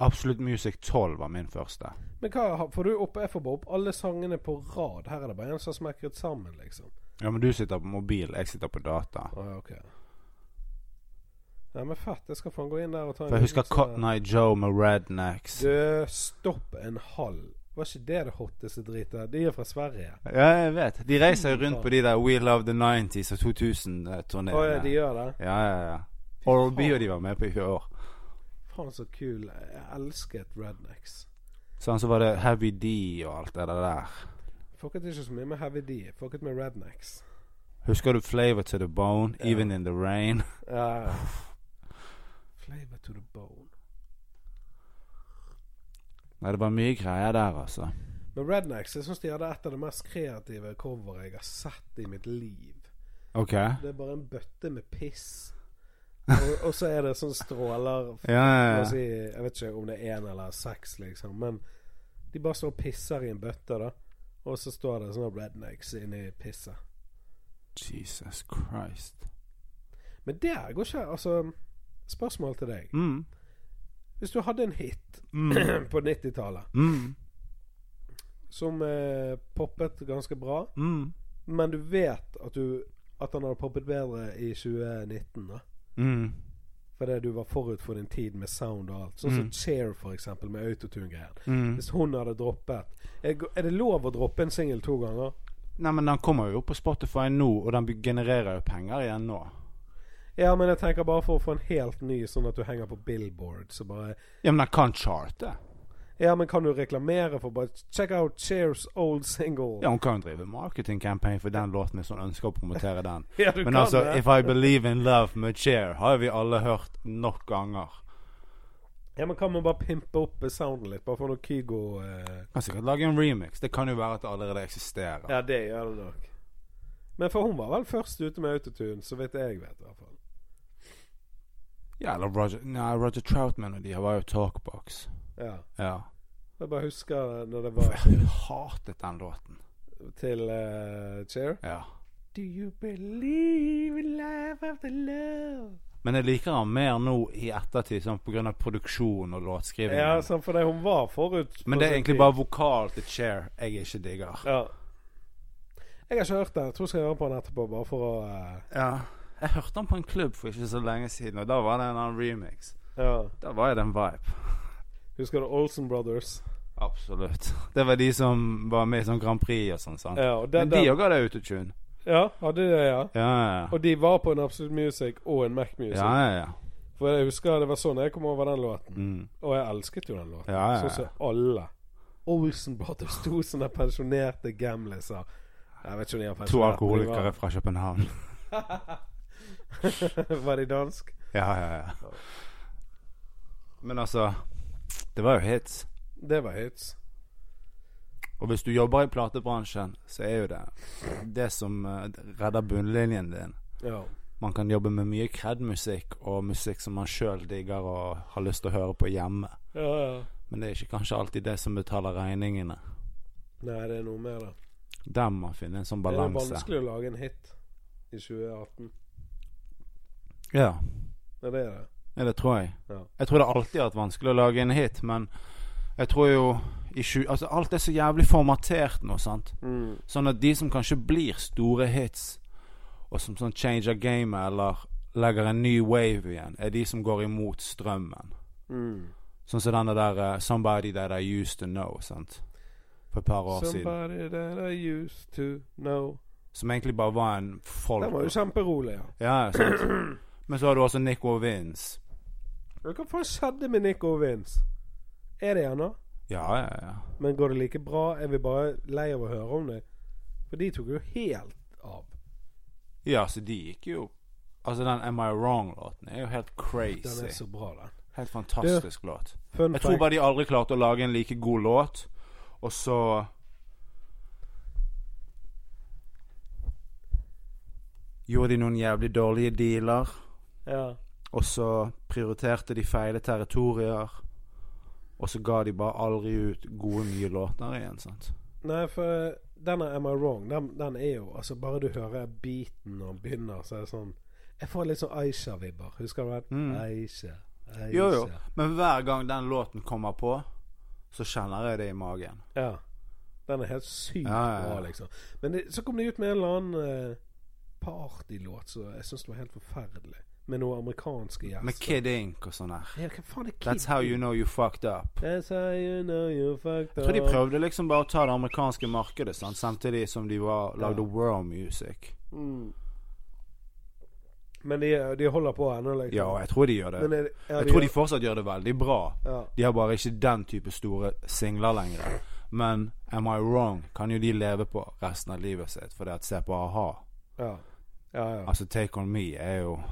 Absolutt Music 12 var min første.
Men hva har- får du opp? Jeg får bare opp alle sangene på rad. Her er det bare en som har smekret sammen, liksom.
Ja, men du sitter på mobil, jeg sitter på data.
Å ja, ok. Ja, men fett. Jeg skal faen gå inn der og ta en
For jeg husker
liten sånn-
Cotton Eye Joe med Rednecks.
Du, stopp en halv. Var ikke det det hotteste dritet? De er fra Sverige.
Ja, jeg vet. De reiser jo rundt på de der We Love the 90s og 2000-turneene.
Å ja, de gjør det?
Ja, ja, ja. Oral B og de var med på i fjor.
Faen, så kul. Jeg elsket Rednecks.
Sånn så var det Heavy D og alt det der.
Fucket ikke så mye med Heavy D. Fucket med Rednecks.
Husker du Flavor to the Bone,
Ja.
Even in the Rain?
Ja. Flavor to the bone.
Nei, det var mye greier der, altså.
Men Rednecks, jeg syns de hadde et av det mest kreative coveret jeg har sett i mitt liv.
Ok.
Det er bare en bøtte med piss. Og, og så er det sånn stråler
Ja, ja,
La oss
ja.
si, Jeg vet ikke om det er én eller seks, liksom. Men de bare står og pisser i en bøtte, da. Og så står det sånne rednecks inni pisset.
Jesus Christ.
Men der går ikke Altså, spørsmål til deg.
Mm.
Hvis du hadde en hit
Mm.
på 90-tallet
Mm.
som eh, poppet ganske bra,
Mm.
men du vet at du At den hadde poppet bedre i 2019, da.
Mm.
Fordi du var forut for din tid med sound og alt. Sånn som
Mm.
Chair, for eksempel, med autotune-greier.
Mm.
Hvis hun hadde droppet Er g- er det lov å droppe en singel to ganger?
Nei, men den kommer jo på Spotify nå, og den genererer jo penger igjen nå.
Ja, men jeg tenker bare for å få en helt ny, sånn at du henger på billboard. Så bare
Ja, men den kan charte.
Ja, men kan du reklamere for bare Check out Chairs old single.
Ja, hun kan jo drive marketing campaign for den låten hvis hun ønsker å promotere den.
Ja, du
Men
kan
altså,
det.
If I Believe in Love med Cher har vi alle hørt nok ganger.
Ja, men kan man bare pimpe opp eh, sounden litt? Bare få noe Kygo eh,
Kan sikkert lage en remix. Det kan jo være at det allerede eksisterer.
Ja, det gjør det nok. Men for hun var vel først ute med autotune, så vidt jeg vet, i hvert fall.
Ja, eller Roger, nei, Roger Troutman og de her var jo talkbox.
Ja.
Ja.
Jeg bare husker når det var
Jeg hatet den låten.
til eh, Chair.
Ja.
Do you believe in life after love?
Men jeg liker han mer nå i ettertid, sånn på grunn av produksjon og låtskriving.
Ja, sånn for det hun var forut. på
Men det er
sin
egentlig
tid.
bare vokal til Cher jeg ikke digger.
Ja. Jeg har ikke hørt den. Jeg tror jeg skal høre på den etterpå, bare for å eh,
Ja. Jeg hørte han på en klubb for ikke så lenge siden, og da var det en annen remix.
Ja.
Da var det en vibe.
Husker du Olsen Brothers?
Absolutt. Det var de som var med i sånn Grand Prix og sånn. sant?
Ja, og
Men
den,
de
den,
òg hadde autotune.
ja, hadde det, ja.
Ja, ja, ja.
Og de var på en Absolute Music og en Mac Music.
ja, ja, ja.
For jeg husker det var sånn jeg kom over den låten.
Mm.
Og jeg elsket jo den låten.
Ja, ja, ja.
Sånn som alle. Olsen Brothers, to sånne pensjonerte gamliser. Jeg vet ikke om de har
To
pensjonert, men de var-
alkoholikere fra København.
var de dansk?
Ja, ja, ja. Men altså Det var jo hits.
Det var hits.
Og hvis du jobber i platebransjen, så er jo det det som eh, redder bunnlinjen din.
Ja.
Man kan jobbe med mye cred-musikk, og musikk som man sjøl digger og har lyst til å høre på hjemme.
ja, ja.
Men det er ikke kanskje alltid det som betaler regningene.
Nei, det er noe med det.
Der må man finne en sånn
Det er
balanse.
vanskelig å lage en hit i 2018.
Ja,
Ja, det er det.
ja, det tror jeg.
Ja.
Jeg tror det alltid har vært vanskelig å lage en hit, men jeg tror jo i tju- altså, Alt er så jævlig formatert nå, sant.
Mm.
Sånn at de som kanskje blir store hits, og som sånn changer gamet eller legger en ny wave igjen, er de som går imot strømmen.
Mm.
Sånn som denne der eh, 'Somebody That I Used To Know', sant. For et par år siden.
Somebody that I used to know.
Som egentlig bare var en folk...
Den var jo kjemperolig, ja.
Ja, ja, sant. Men så har du også Nico Vince.
Men Hva faen skjedde med Nico og Vince? Er det han nå?
Ja, ja, ja.
Men går det like bra? Er vi bare lei av å høre om det? For de tok jo helt av.
Ja, så de gikk jo Altså, den Am I Wrong-låten er jo helt
Den
crazy.
er så bra, den.
Helt fantastisk låt.
Fun
Jeg tror
fact.
bare de aldri klarte å lage en like god låt, og så Gjorde de noen jævlig dårlige dealer,
Ja.
og så prioriterte de feile territorier, og så ga de bare aldri ut gode, nye låter igjen, sant?
Nei, for denne Am I Wrong, den, den er jo Altså, bare du hører beaten og begynner, så er det sånn Jeg får litt sånn Aisha-vibber. Husker du den?
Mm.
Aisha, Aisha.
Jo, jo. Men hver gang den låten kommer på, så kjenner jeg det i magen.
Ja. Den er helt sykt
Ja, ja, ja.
bra, liksom. Men det, så kom de ut med en eller annen eh, partylåt som jeg syns var helt forferdelig. Med noen amerikanske gjester.
Med Kid Ink og sånn her.
Ja, hva faen er Kid?
That's how you know you fucked up.
That's how you know you fucked
Jeg
up.
tror de prøvde liksom bare å ta det amerikanske markedet, sant? samtidig som de var, lagde
Ja.
world music.
Mm. Men de, de holder på ennå, liksom.
Ja, og jeg tror de gjør
Men
det.
er, det- ja,
Jeg tror de fortsatt gjør det veldig bra.
ja.
De har bare ikke den type store singler lenger. Men Am I Wrong kan jo de leve på resten av livet sitt, fordi at se på a-ha.
Ja. ja, ja.
Altså Take On Me er jo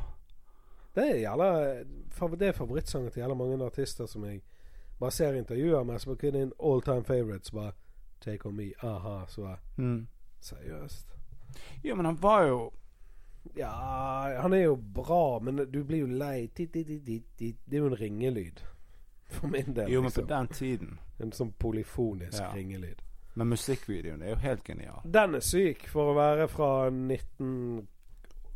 Det er jævla fav- Det er favorittsangen til jævla mange artister som jeg bare ser intervjuer med, som er kun en all time favourite. Så bare Take On Me, aha. Så bare
mm.
Seriøst.
Jo, men han var jo
Ja, han er jo bra, men du blir jo lei. Ti, ti, ti, ti, ti. Det er jo en ringelyd. For min del.
Jo, men på
liksom.
den tiden.
En sånn polyfonisk
Ja.
ringelyd.
Men musikkvideoen er jo helt genial.
Den er syk for å være fra 19...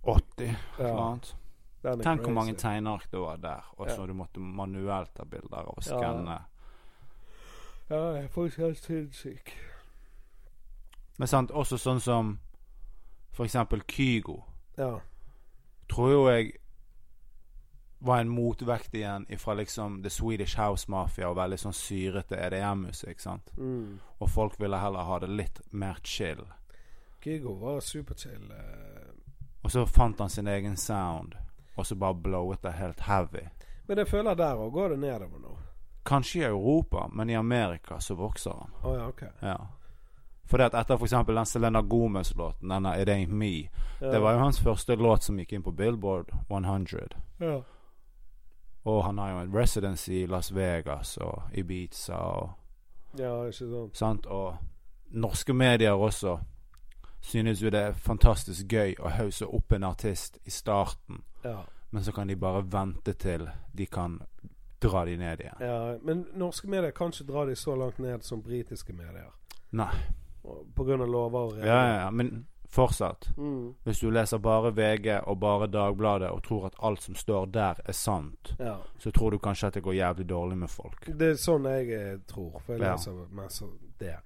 80,
Ja,
eller annet.
den er
Tenk hvor
crazy.
mange tegneark det var der, og så
Ja.
du måtte manuelt ta bilder og
Ja.
skanne.
Ja, jeg er faktisk helt sinnssyk.
Men sant, også sånn som for eksempel Kygo,
Ja.
tror jo jeg var en motvekt igjen ifra liksom The Swedish House Mafia og veldig sånn syrete EDM-musikk, sant.
Mm.
Og folk ville heller ha det litt mer chill.
Kygo var superchill. eh.
Og så fant han sin egen sound, og så bare blowet det helt heavy.
Men jeg føler der òg går det nedover nå.
Kanskje i Europa, men i Amerika så vokser han.
Å ja, ok.
Ja. Fordi at etter f.eks. den Selena Gomez-låten, denne It Ain't Me,
Ja.
det var jo hans første låt som gikk inn på Billboard 100.
ja.
Og han har jo en residency i Las Vegas og Ibiza og
ja, ikke sant.
Sant? Og norske medier også synes jo det er fantastisk gøy å hause opp en artist i starten,
Ja.
men så kan de bare vente til de kan dra de ned igjen.
ja. Men norske medier kan ikke dra de så langt ned som britiske medier.
Nei.
Og- På grunn av lover og
Ja, ja, ja. Men fortsatt.
Mm.
Hvis du leser bare VG og bare Dagbladet og tror at alt som står der, er sant,
ja.
så tror du kanskje at det går jævlig dårlig med folk.
Det er sånn jeg eh, tror, for jeg
Ja.
leser mest av det.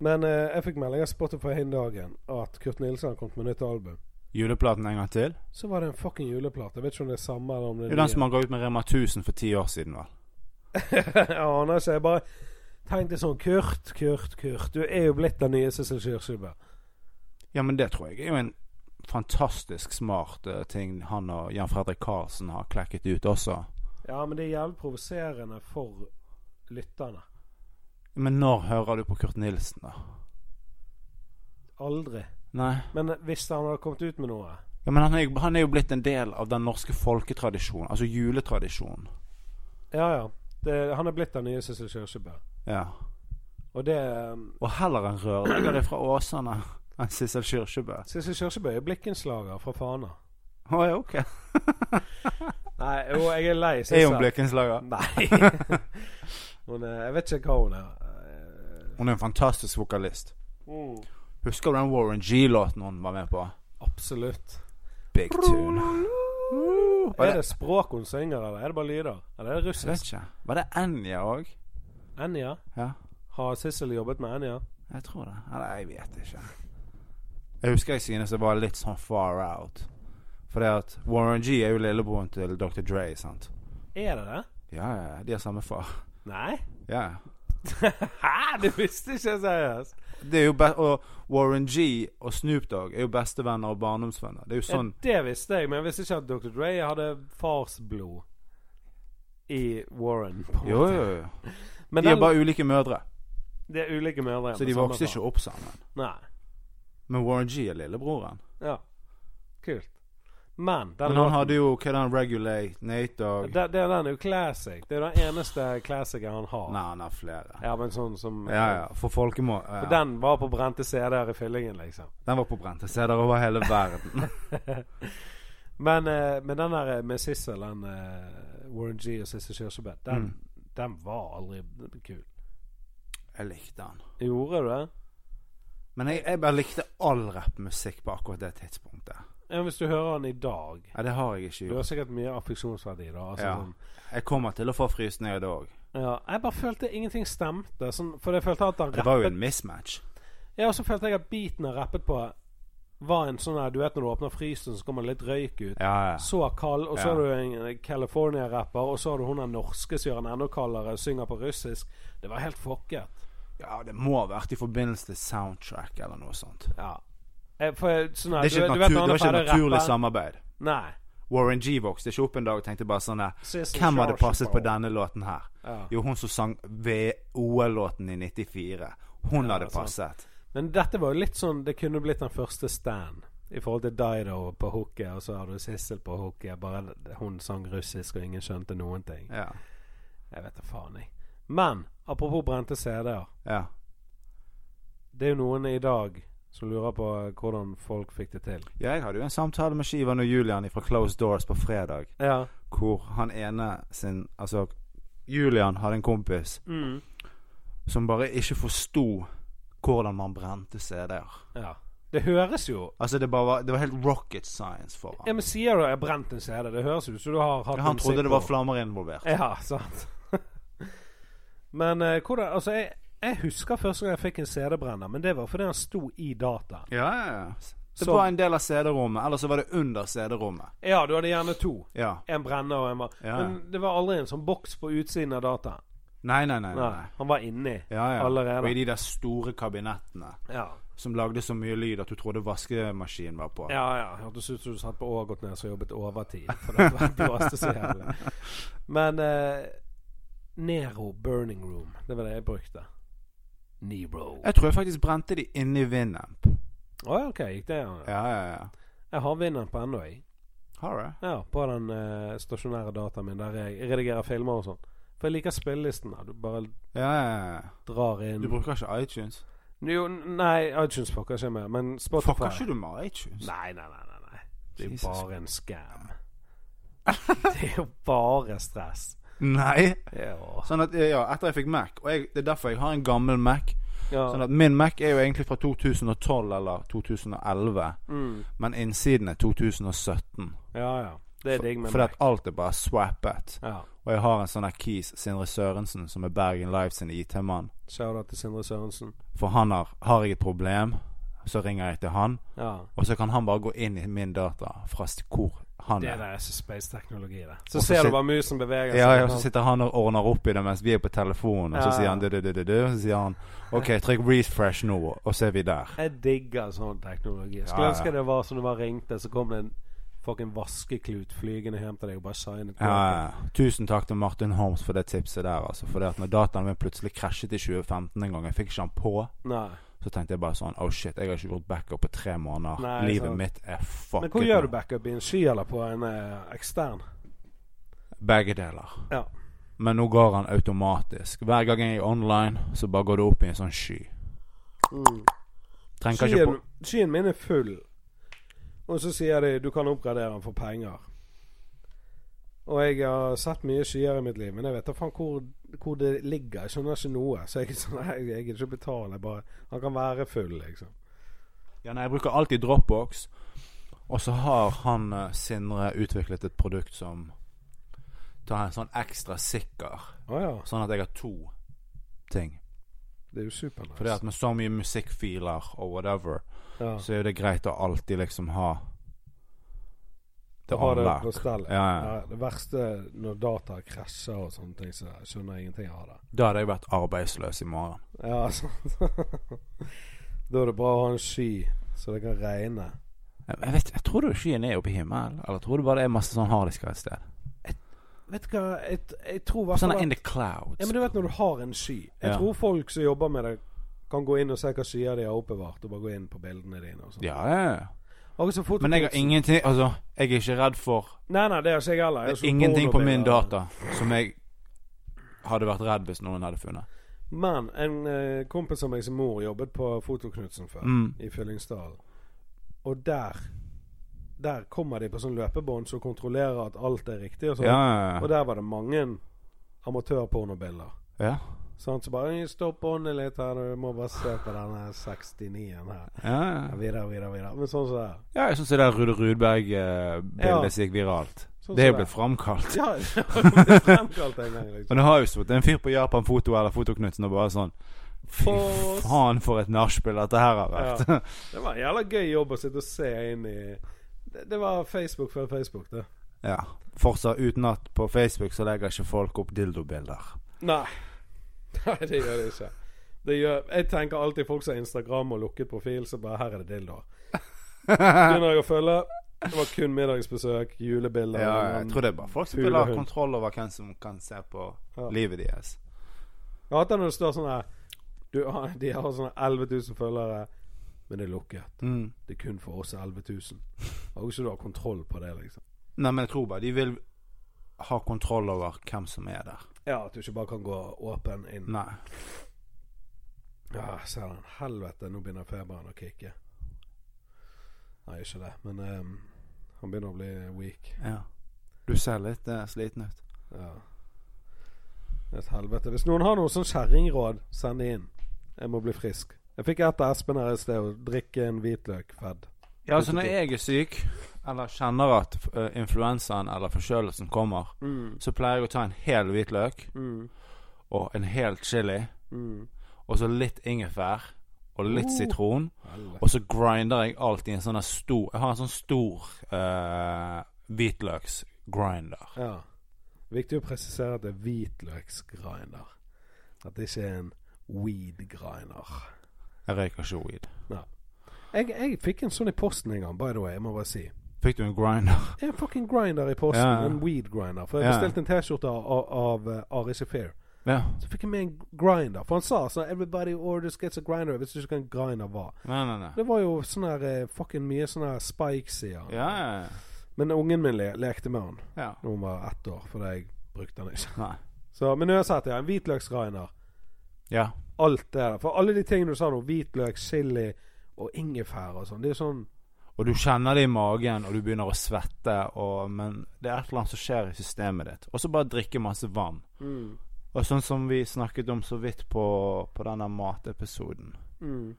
Men eh, jeg fikk melding av Spotify hele dagen at Kurt Nilsen har kommet med nytt album.
Juleplaten en gang til?
Så var det en fucking juleplate. Jeg vet ikke om det er samme eller om det
Jo,
er
den som han ga ut med Rema 1000 for ti år siden, vel.
Jeg aner ikke. Jeg bare tenkte sånn Kurt, Kurt, Kurt. Du er jo blitt den nye Sissel Kyrkjebø.
Ja, men det tror jeg er jo en fantastisk smart eh, ting han og Jan Fredrik Karlsen har klekket ut også.
Ja, men det er jævlig provoserende for lytterne.
Men når hører du på Kurt Nilsen, da?
Aldri.
Nei.
Men hvis han hadde kommet ut med noe
Ja, men han er, jo, han er jo blitt en del av den norske folketradisjonen, altså juletradisjonen.
Ja, ja. Det, han er blitt den nye Sissel Kyrkjebø.
Ja.
Og det um,
Og heller en rørlegger det er fra Åsane enn Sissel Kyrkjebø.
Sissel Kyrkjebø er blikkenslager fra Fana.
Å ja, ok.
Nei, jo, jeg er lei
Er hun
Sissel.
blikkenslager?
Nei. hun er, jeg vet ikke hva hun er.
Hun er en fantastisk vokalist.
Mm.
Husker du den Warren G-låten hun var med på?
Absolutt.
Big Tune. Og
Er
det-
det språk hun synger, eller er det bare lyder? Eller er
Jeg
det
vet
russisk?
ikke. Var det Enja òg?
Enja?
Ja,
Har Sissel jobbet med Enja?
jeg tror det. Eller jeg vet ikke. Jeg husker jeg synes det var litt sånn far out. For det at Warren G er jo lillebroren til Dr. Dre, sant?
Er det det?
Ja, ja, ja, de har samme far.
Nei?
Ja, ja.
Hæ? Du visste ikke, seriøst?
Det er jo be og Warren G og Snoop Dogg er jo bestevenner og barndomsvenner. Det er jo
Ja,
sånn
det visste jeg, men jeg visste ikke at Dr. Dre hadde farsblod i Warren. på en
Jo,
måte.
jo, jo.
Men
De er
den,
bare ulike mødre,
det er ulike mødre.
så de vokste ikke opp sammen.
Nei.
Men Warren G er lillebroren.
Ja. Kult. Men
Men
den
han
låten-
hadde jo hva er den Regulate, Nate Dogg
Det, det, den er jo classic. Det er den eneste classicen han har.
Nei, han har flere.
Ja, men sånn som
Ja, ja. For folkemå...
For
Ja.
Den var på brente CD-er i fyllingen, liksom.
Den var på brente steder over hele verden.
Men, eh, men den der eh, med Sissel, den eh, Warren G og Sissel Kyrkjebø, den,
Mm.
den var aldri kul.
Jeg likte han.
Gjorde du det?
Men jeg, jeg bare likte all rappmusikk på akkurat det tidspunktet.
Ja, hvis du hører den i dag
Ja, det har jeg ikke
Du
gjort.
har sikkert mye affeksjonsverdi da. Altså,
Ja.
sånn,
Jeg kommer til å få frysninger da òg.
ja. Jeg bare følte ingenting stemte. Sånn, for jeg følte at han
Det var jo
rappet
en mismatch.
Ja, og så følte jeg at beaten han rappet på, var en sånn her Du vet når du åpner frysen, så kommer det litt røyk ut.
Ja, ja.
Så kald, og så
Ja.
har du en California-rapper, og så har du hun den norske som gjør den enda kaldere, synger på russisk. Det var helt fucket.
Ja, det må ha vært i forbindelse til soundtrack eller noe sånt. Det
Ja. Eh, For jeg- sånn her,
er ikke
du,
et natur,
du vet, når
det
han
var ikke
er
et
ferdig å
naturlig
rappe-
samarbeid.
Nei.
Warren G vokste ikke opp en dag og tenkte bare sånn eh,
Sissy
Hvem hadde
Charles
passet på
Ball.
denne låten her?
Ja.
Jo, hun som sang VOL-låten i 94. Hun hadde
sant.
passet.
Men dette var jo litt sånn Det kunne blitt den første stand i forhold til Dido på hooket, og så har du Sissel på hooket. Bare hun sang russisk, og ingen skjønte noen ting.
Ja.
Jeg vet da faen, jeg. Men apropos brente CD-er.
ja.
Det er jo noen i dag som lurer på hvordan folk fikk det til.
Jeg hadde jo en samtale med Shivan og Julian fra Closed Doors på fredag,
Ja.
hvor han ene sin Altså, Julian hadde en kompis
Mm.
som bare ikke forsto hvordan man brente CD-er.
ja. Det høres jo
Altså, det, bare var, det var helt rocket science for
Ja,
ham.
men Sier du 'jeg brant en CD', det høres ut som du har hatt
Ja,
en
han trodde
sipp
det var
på.
flammer involvert.
Ja, sant. men eh, hvordan Altså, jeg, jeg husker første gang jeg fikk en CD-brenner, men det var fordi han sto i dataen.
Ja, ja, ja. Det
Så-
var en del av CD-rommet, eller så var det under CD-rommet.
Ja, du hadde gjerne to.
Ja.
En brenner og en var
Ja.
Men det var aldri en sånn boks på utsiden av dataen.
Nei, nei, nei. nei.
Nei,
nei.
han var inni
Ja, ja. Og i
allerede.
de der store kabinettene
Ja.
som lagde så mye lyd at du trodde vaskemaskinen var på.
Ja, ja. Hørtes ut som du satt på Ågotnes og jobbet overtid. For det var- blåste så jævlig. Men eh, Nero Burning Room, det var det jeg brukte. Nero. Å
Jeg tror jeg faktisk brente de inni Vinamp.
ja, OK. Gikk det an?
Ja, ja, ja.
Jeg har vinneren på ennå, jeg.
Har du?
Ja, på den eh, stasjonære dataen min der jeg redigerer filmer og sånn. For jeg liker spillelisten. da. Du bare
Ja, ja, ja.
drar inn
Du bruker ikke iTunes?
Jo, Nei, iTunes fucker ikke med, men Spotify
Fucker ikke du med iTunes?
Nei, nei, nei. nei, nei. Det er jo
Jesus.
bare en scam. det er jo bare stress.
Nei.
Ja.
Sånn at, ja, etter jeg fikk Mac, og jeg, det er derfor jeg har en gammel Mac.
Ja.
Sånn at min Mac er jo egentlig fra 2012 eller 2011,
Mm.
men innsiden er 2017.
ja, ja. Det er digg med
Fordi
meg.
at alt er bare swappet.
Ja.
Og jeg har en sånn her Keys Sindre Sørensen, som er Bergen Live sin IT-mann.
Shout-out til Sindre Sørensen.
For han har Har jeg et problem? Så ringer jeg til han,
Ja.
og så kan han bare gå inn i min data fra st- hvor han
Det
er.
der er så space-teknologi, det. Så
Og så
ser du
sit-
bare musen beveger
Ja, ja, så sitter han og ordner opp i det mens vi er på telefonen, og så
Ja.
sier han du, du, du, du, du, og så sier han OK, trykk refresh nå, og så er vi der.
Jeg digger sånn teknologi. Jeg Skulle
Ja, ja.
ønske det var som det var ringte, så kom det en fucking vaskeklut flygende hjem til deg og bare signet
Ja, ja. Tusen takk til Martin Holmes for det tipset der, altså. For det at når dataen min plutselig krasjet i 2015 en gang, jeg fikk ikke han på,
Nei.
så tenkte jeg bare sånn Oh shit, jeg har ikke gjort backup på tre måneder.
Nei,
Livet
sant.
mitt er fucket.
Men hvor
nå.
gjør du backup? I en sky eller på en eh, ekstern?
Begge deler.
Ja.
Men nå går han automatisk. Hver gang jeg er online, så bare går det opp i en sånn sky.
Mm.
Trenger ikke
Skyen,
på
skyen min er full. Og så sier de du kan oppgradere den for penger. Og jeg har sett mye skyer i mitt liv, men jeg vet da faen hvor, hvor det ligger. Jeg skjønner ikke noe. Så jeg, er sånn, jeg, jeg gidder ikke å betale. jeg Bare, han kan være full, liksom.
Ja, nei, jeg bruker alltid Dropbox. Og så har han eh, Sindre utviklet et produkt som tar en sånn ekstra sikker,
Å ja.
sånn at jeg har to ting.
Det er jo supernice.
Fordi at med så mye musikkfiler og whatever,
ja.
så er jo det greit å alltid liksom ha
Da har det
anlagt.
på stell.
Ja, ja.
Ja, det verste når data krasjer og sånne ting, så skjønner jeg ingenting av det.
Da hadde jeg vært arbeidsløs i morgen.
Ja, sant. da er det bra å ha en sky, så det kan regne.
Jeg, jeg vet, jeg tror du skyen er oppe i himmelen, eller tror du bare det er masse sånn harddisker et sted?
Vet du hva, jeg, jeg tror hvertfall
Sånn
at-
in the clouds.
Ja, men du vet når du har en sky. Jeg
Ja.
tror folk som jobber med det, kan gå inn og se hva skyer de har oppbevart, og bare gå inn på bildene dine og sånn.
ja, ja, ja.
Og så fort-
Men jeg har ingenting Altså, jeg er ikke redd for
Nei, nei, det har ikke jeg heller. Jeg
Det er
har så
ingenting på min
pornobilder.
data som jeg hadde vært redd hvis noen hadde funnet.
Men en eh, kompis av meg som mor jobbet på Fotoknutsen før.
Mm.
i Fyllingsdalen. Og der Der kommer de på sånn løpebånd som kontrollerer at alt er riktig. Og, sånn.
Ja,
og der var det mange amatørpornobilder.
ja, ja.
Sånn, så bare Stopp båndet litt her, du må bare se på denne 69-en her.
ja,
Ja,
ja.
Videre, videre, videre. Men sånn som det. er.
ja jeg syns det der Rude Rudberg-bildet
Ja.
som gikk viralt,
Sånn
det er
som
jo blitt framkalt.
Ja, det ble fremkalt en gang, liksom.
Men det har jo stått en fyr på Japan Foto eller Fotoknutsen og bare sånn Fy
Åh, s-
faen, for et nachspiel dette her har vært.
Ja. Det var en jævla gøy jobb å sitte og se inn i Det, det var Facebook før Facebook, det.
Ja. Fortsatt uten at på Facebook så legger ikke folk opp dildobilder.
Nei. Nei, det gjør det ikke. Det gjør, jeg tenker alltid folk som har Instagram og lukket profil, så bare her er det dildoer. Begynner jeg å følge. Det var kun middagsbesøk, julebilder
Ja, jeg tror det er bare folk som vil ha
Hulehund.
kontroll over hvem som kan se på
Ja.
livet deres.
Jeg hater når det står sånn her du, har- De har sånne 11 000 følgere, men det er lukket.
Mm.
Det er kun for oss 11 000. Og ikke du har kontroll på det, liksom.
Nei, men jeg tror bare de vil ha kontroll over hvem som er der.
Ja, at du ikke bare kan gå åpen inn.
Nei.
Ja, ser den. Helvete, nå begynner feberen å kicke. Nei, ikke det, men ehm, han begynner å bli weak.
Ja. Du ser litt eh, sliten ut.
Ja. Det er Et helvete. Hvis noen har noe sånn kjerringråd, send det inn. Jeg må bli frisk. Jeg fikk et av Espen her i sted, å drikke en hvitløkfedd.
Ja, altså når jeg er syk, eller kjenner at eh, influensaen eller forkjølelsen kommer,
Mm,
så pleier jeg å ta en hel hvitløk
mm,
og en hel chili,
mm.
og så litt ingefær og litt
Oh.
sitron,
Helvete.
og så grinder jeg alt i en sånn her stor Jeg har en sånn stor eh, hvitløksgrinder.
Ja. Viktig å presisere at det er hvitløksgrinder. At det ikke er en weed-grinder.
Jeg røyker ikke weed.
Jeg, jeg fikk en sånn i posten en gang, by the way. Jeg må bare si.
Fikk du en grinder?
En fucking grinder i posten.
Ja, ja.
En weed grinder. For jeg
Ja.
bestilte en T-skjorte av, av, av eh, Ari Shafir.
Ja.
Så fikk jeg med en grinder. For han sa sånn 'Everybody orders gets a grinder'. Hvis du ikke kan grinder hva.
Nei, nei, nei.
Det var jo sånn her eh, fucking mye sånn her spikes i han.
Ja, ja,
Men ungen min le lekte med han
ja. ja.
Når hun var ett år, fordi jeg brukte han ikke.
Nei.
Så, men uansett, ja. En hvitløksgrinder.
Ja.
Alt det der. For alle de tingene du sa nå, hvitløk, chili og ingefær og sånn, det er jo sånn
Og du kjenner det i magen, og du begynner å svette, og, men det er et eller annet som skjer i systemet ditt. Og så bare drikke masse vann.
mm,
Og sånn som vi snakket om så vidt på, på denne matepisoden.
mm.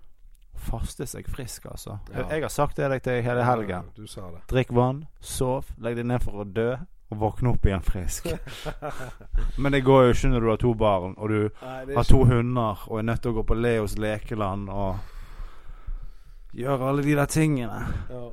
Faste seg frisk, altså.
Ja.
Jeg har sagt det til deg hele helgen.
Du sa det.
Drikk vann, sov, legg deg ned for å dø, og våkne opp igjen frisk. men det går jo ikke når du har to barn, og du
Nei, det er
har to hunder, og er nødt til å gå på Leos lekeland, og gjør alle de der tingene.
Ja.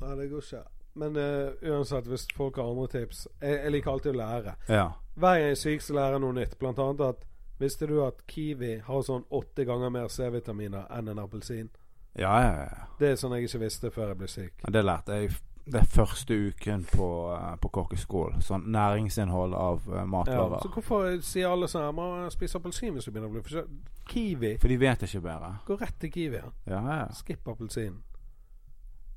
Nei, det går ikke. Men eh, uansett, hvis folk har andre tips Jeg, jeg liker alltid å lære.
Ja.
Hver gang jeg er syk, så lærer jeg noe nytt. Blant annet at Visste du at kiwi har sånn åtte ganger mer C-vitaminer enn en appelsin?
Ja, ja, ja.
Det er sånn jeg ikke visste før jeg ble syk.
Ja, Det lærte jeg f- den første uken på, eh, på kokkeskolen. Sånn næringsinnhold av eh,
Ja.
matvarer.
Så hvorfor sier alle sånn Man spiser appelsin hvis du begynner å bli forkjølt. Kiwi.
For de vet ikke bedre.
Gå rett til kiwien.
Ja, ja.
Skipp appelsinen.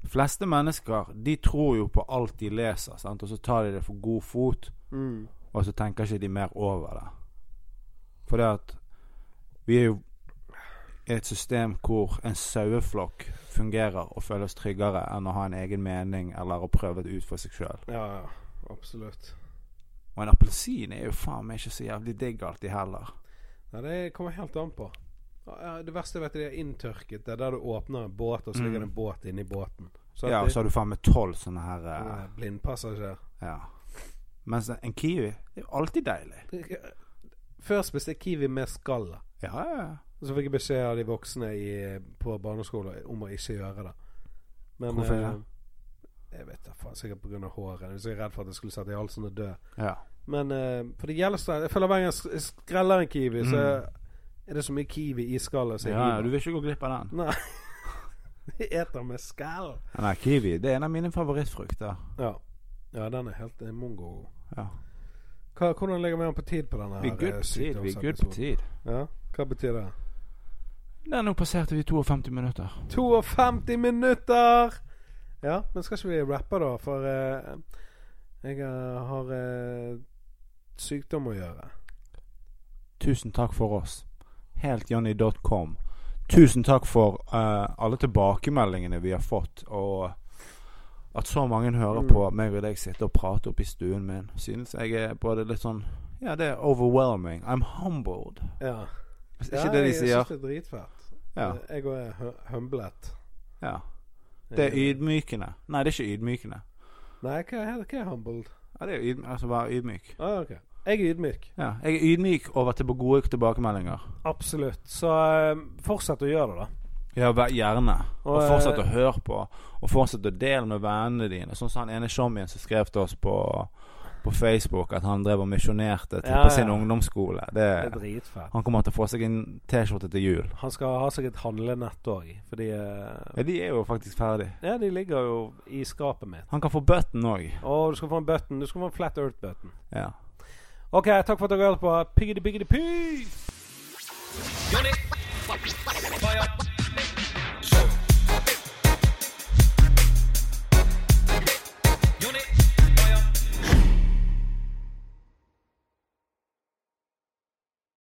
Fleste mennesker de tror jo på alt de leser, sant? og så tar de det for god fot,
Mm.
og så tenker ikke de mer over det. For det at vi er jo i et system hvor en saueflokk fungerer og føles tryggere enn å ha en egen mening eller å prøve det ut for seg sjøl.
Ja, ja. Absolutt.
Og en appelsin er jo faen meg ikke så jævlig digg alltid heller.
Nei, det kommer helt an på. Ja, ja, Det verste jeg vet det er inntørket. Det er der du åpner en båt, og så ligger det en båt inni båten. Så
Mm.
at
Ja, og
det,
så har du faen meg tolv sånne her eh,
Nei, blindpassasjer.
Ja. Mens en kiwi det er jo alltid deilig.
Før spiste jeg kiwi med skallet.
Ja, ja, ja.
Og Så fikk jeg beskjed av de voksne i, på barneskolen om å ikke gjøre det. Men
Hvorfor
eh,
det?
Jeg vet da faen. Sikkert pga. håret. Jeg er så redd for at jeg skulle sette i halsen og dø.
ja.
Men eh, For det gjelder seg. Jeg føler hver gang jeg sk- jeg skreller en kiwi, så er det så mye kiwi i skallet. Så jeg
Mm. ja, ja,
hiver.
du vil ikke gå glipp av den.
Nei. Jeg Eter med skall.
Nei, kiwi det er en av mine favorittfrukter.
Ja. ja, den er helt eh, mongo.
Ja.
Hva, hvordan ligger vi an på tid på denne?
Vi er
her,
good
eh,
på tid. Vi er good på
sykdomsepisoden?
tid.
Ja? Hva betyr det?
Nei, nå passerte vi 52 minutter.
52 minutter! Ja, men skal ikke vi rappe, da? For eh, jeg eh, har eh, sykdom å gjøre.
Tusen takk for oss. Heltjohnny.com. Tusen takk for eh, alle tilbakemeldingene vi har fått, og at så mange hører
Mm.
på meg og deg sitte og prate oppe i stuen min. Synes jeg er både litt sånn Ja, det er overwhelming. I'm humbled.
Ja.
Hvis
ja,
ikke det de
jeg
sier.
syns det er dritfett.
Ja.
Jeg òg er hu- humblet.
ja. Det er ydmykende. Nei, det er ikke ydmykende.
Nei, hva er, hva er humbled?
Ja, det er ydm altså være ydmyk.
Ah, ok. Jeg er ydmyk.
Ja, jeg er ydmyk over til gode tilbakemeldinger.
Absolutt. Så
eh,
fortsett å gjøre det, da.
Ja, vær gjerne. Og,
Og, eh,
fortsett å høre på. Og fortsett å dele med vennene dine. Sånn som han ene sjommien som skrev til oss på, på Facebook at han drev og misjonerte til
Ja,
på sin
ja.
ungdomsskole.
Det er
Det,
dritfett.
han kommer til å få seg en T-skjorte til jul.
Han skal ha seg et handlenett òg, fordi eh,
Ja, de er jo faktisk ferdig.
Ja, de ligger jo i skapet mitt.
Han kan få button òg.
Å, du skal få en button. Du skal få en Flat Earth-button.
Ja.
OK, takk for at dere hørte på. Piggity, piggity, peace!
Johnny. Fire.